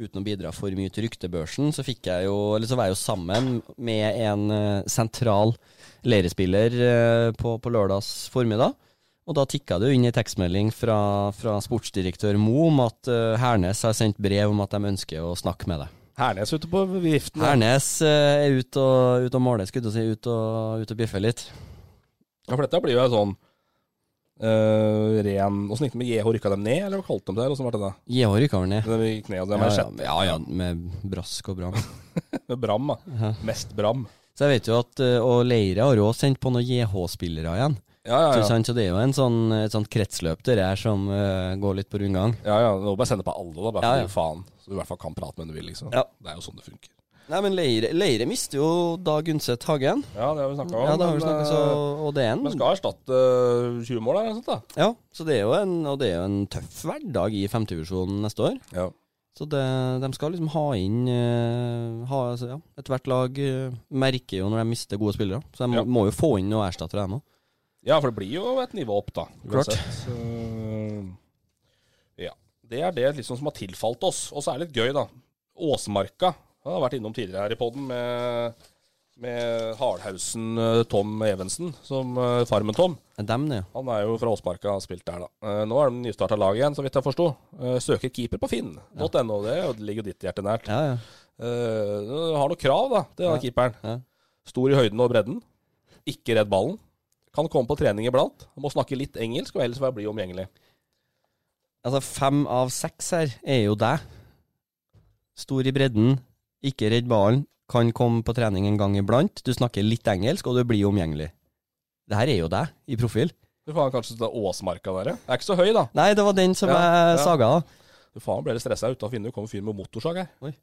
[SPEAKER 2] uten å bidra for mye til ryktebørsen, så fikk jeg jo, eller så var jeg jo sammen med en eh, sentral leirespiller eh, på, på lørdags formiddag. Og da tikka det jo inn en tekstmelding fra, fra sportsdirektør Mo om at eh, Hernes har sendt brev om at de ønsker å snakke med deg.
[SPEAKER 1] Hernes ute på viften.
[SPEAKER 2] Hernes eh, er ute og, ut og måler, skulle jeg til å si, ut og, ut og bjeffer litt.
[SPEAKER 1] Ja, for dette blir jo en sånn eh, ren Åssen gikk det med JH? Rykka dem ned, eller hva kalte de det? her? Hvordan var det da?
[SPEAKER 2] JH rykka vel ned.
[SPEAKER 1] De gikk ned, og de
[SPEAKER 2] Ja,
[SPEAKER 1] er
[SPEAKER 2] ja,
[SPEAKER 1] sjette.
[SPEAKER 2] ja, ja, med brask og bram.
[SPEAKER 1] Med Bram, da. Mest Bram.
[SPEAKER 2] Så jeg vet jo at eh, Og Leire har jo også sendt på noen JH-spillere igjen.
[SPEAKER 1] Ja, ja,
[SPEAKER 2] Så
[SPEAKER 1] ja.
[SPEAKER 2] sant, Så det er jo en sånn, et sånt kretsløp der her som eh, går litt på rundgang.
[SPEAKER 1] ja, ja. Nå bare sende på alle, da. Bare
[SPEAKER 2] Ja, ja.
[SPEAKER 1] for å gi faen. Så du i hvert fall kan prate med hvem du vil, liksom.
[SPEAKER 2] Ja.
[SPEAKER 1] Det er jo sånn det funker.
[SPEAKER 2] Nei, men Leire, Leire mister jo da Gunset Hagen.
[SPEAKER 1] Ja, det har vi snakka om.
[SPEAKER 2] Ja, det har vi
[SPEAKER 1] men,
[SPEAKER 2] snakket så Og det er
[SPEAKER 1] eh, Men
[SPEAKER 2] en
[SPEAKER 1] skal erstatte 20-mål, eller noe sånt,
[SPEAKER 2] Ja, så det er jo en, og det er jo en tøff hverdag i femtevisjonen neste år.
[SPEAKER 1] da. Ja.
[SPEAKER 2] Så det, de skal liksom ha inn eh, ha, altså, ja, Ethvert lag eh, merker jo når de mister gode spillere. Så de
[SPEAKER 1] Ja.
[SPEAKER 2] må, må jo få inn noen erstattere, dem òg.
[SPEAKER 1] ja, for det blir jo et nivå opp, da.
[SPEAKER 2] Klart.
[SPEAKER 1] Så, ja. Det er det liksom som har tilfalt oss. Og så er det litt gøy, da. Åsmarka jeg har vært innom tidligere her i poden med, med Hardhausen eh, Tom Evensen, som eh, Farmen-Tom.
[SPEAKER 2] Dem, det.
[SPEAKER 1] Han er jo fra Åsmarka og har spilt der, da. Eh, Nå er de nystarta lag igjen, så vidt jeg forsto. Eh, Søker keeper på finn.no. Det er jo- ligger jo ditt hjerte nært.
[SPEAKER 2] Ja, ja.
[SPEAKER 1] Eh, du har noen krav da til
[SPEAKER 2] Ja.
[SPEAKER 1] keeperen.
[SPEAKER 2] Ja.
[SPEAKER 1] Stor i høyden og bredden. Ikke redd ballen. Kan komme på trening iblant. Må snakke litt engelsk og ellers være blid og omgjengelig.
[SPEAKER 2] Altså, fem av seks her er jo deg. Stor i bredden, ikke redd ballen, kan komme på trening en gang iblant. Du snakker litt engelsk, og du blir omgjengelig. Det her er jo deg, i profil.
[SPEAKER 1] Du får kanskje ta Åsmarka der, ja. Er ikke så høy, da.
[SPEAKER 2] Nei, det var den som
[SPEAKER 1] Ja,
[SPEAKER 2] jeg
[SPEAKER 1] ja.
[SPEAKER 2] saga av.
[SPEAKER 1] Du faen ble litt stressa utafor vinduet. Kommer fyren med motorsag her.
[SPEAKER 2] Oi.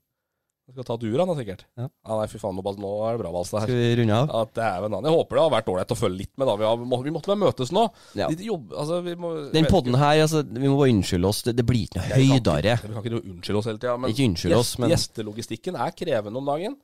[SPEAKER 1] Du skal ta duren, da, sikkert.
[SPEAKER 2] Ja.
[SPEAKER 1] nei, fy faen. Nå Bas- nå er det bra, Balstad.
[SPEAKER 2] Skal
[SPEAKER 1] her.
[SPEAKER 2] vi runde av?
[SPEAKER 1] Ja, dæven han. Jeg håper det har vært ålreit å følge litt med, da. Vi, har, må, vi måtte vel møtes nå.
[SPEAKER 2] Ja.
[SPEAKER 1] Litt jobb, altså, vi må,
[SPEAKER 2] Den podden her, altså, vi må bare unnskylde oss. Det, det blir ikke noe
[SPEAKER 1] Jeg kan ikke-
[SPEAKER 2] høydere.
[SPEAKER 1] Vi kan ikke unnskylde oss hele tida, men
[SPEAKER 2] Ikke unnskylde oss,
[SPEAKER 1] gjest-
[SPEAKER 2] men-
[SPEAKER 1] gjestelogistikken er krevende om dagen.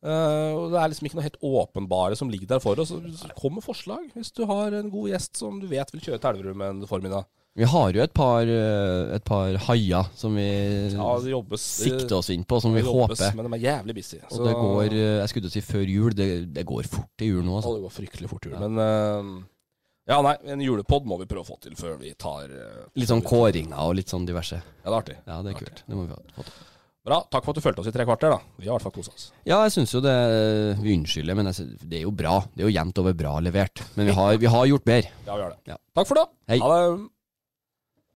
[SPEAKER 1] Eh, og Det er liksom ikke noe helt åpenbare som ligger der for oss. Så Kom med forslag hvis du har en god gjest som du vet vil kjøre til Elverum en formiddag.
[SPEAKER 2] Vi har jo et par, eh, et par haier som vi
[SPEAKER 1] Ja, det jobbes eh,
[SPEAKER 2] sikter oss inn på, som vi
[SPEAKER 1] det jobbes,
[SPEAKER 2] håper.
[SPEAKER 1] Men de er jævlig busy.
[SPEAKER 2] Og det går, eh, jeg skulle til å si før jul, det, det går fort til jul nå.
[SPEAKER 1] Ja,
[SPEAKER 2] Altså.
[SPEAKER 1] det går fryktelig fort jul. Men eh, Ja, nei, en julepod må vi prøve å få til før vi tar eh,
[SPEAKER 2] Litt sånn kåringer og litt sånn diverse.
[SPEAKER 1] Ja, det er artig.
[SPEAKER 2] Ja, det er kult. Det må vi ha- få til.
[SPEAKER 1] Bra. Takk for at du fulgte oss i tre kvarter, da. Vi har i hvert fall kosa oss.
[SPEAKER 2] Ja, jeg syns jo det eh, Vi unnskylder, men jeg synes, det er jo bra. Det er jo jevnt over bra levert. Men vi har, vi har gjort bedre.
[SPEAKER 1] Ja, vi har det.
[SPEAKER 2] Ja.
[SPEAKER 1] Takk for det.
[SPEAKER 2] Hei.
[SPEAKER 1] Ha det.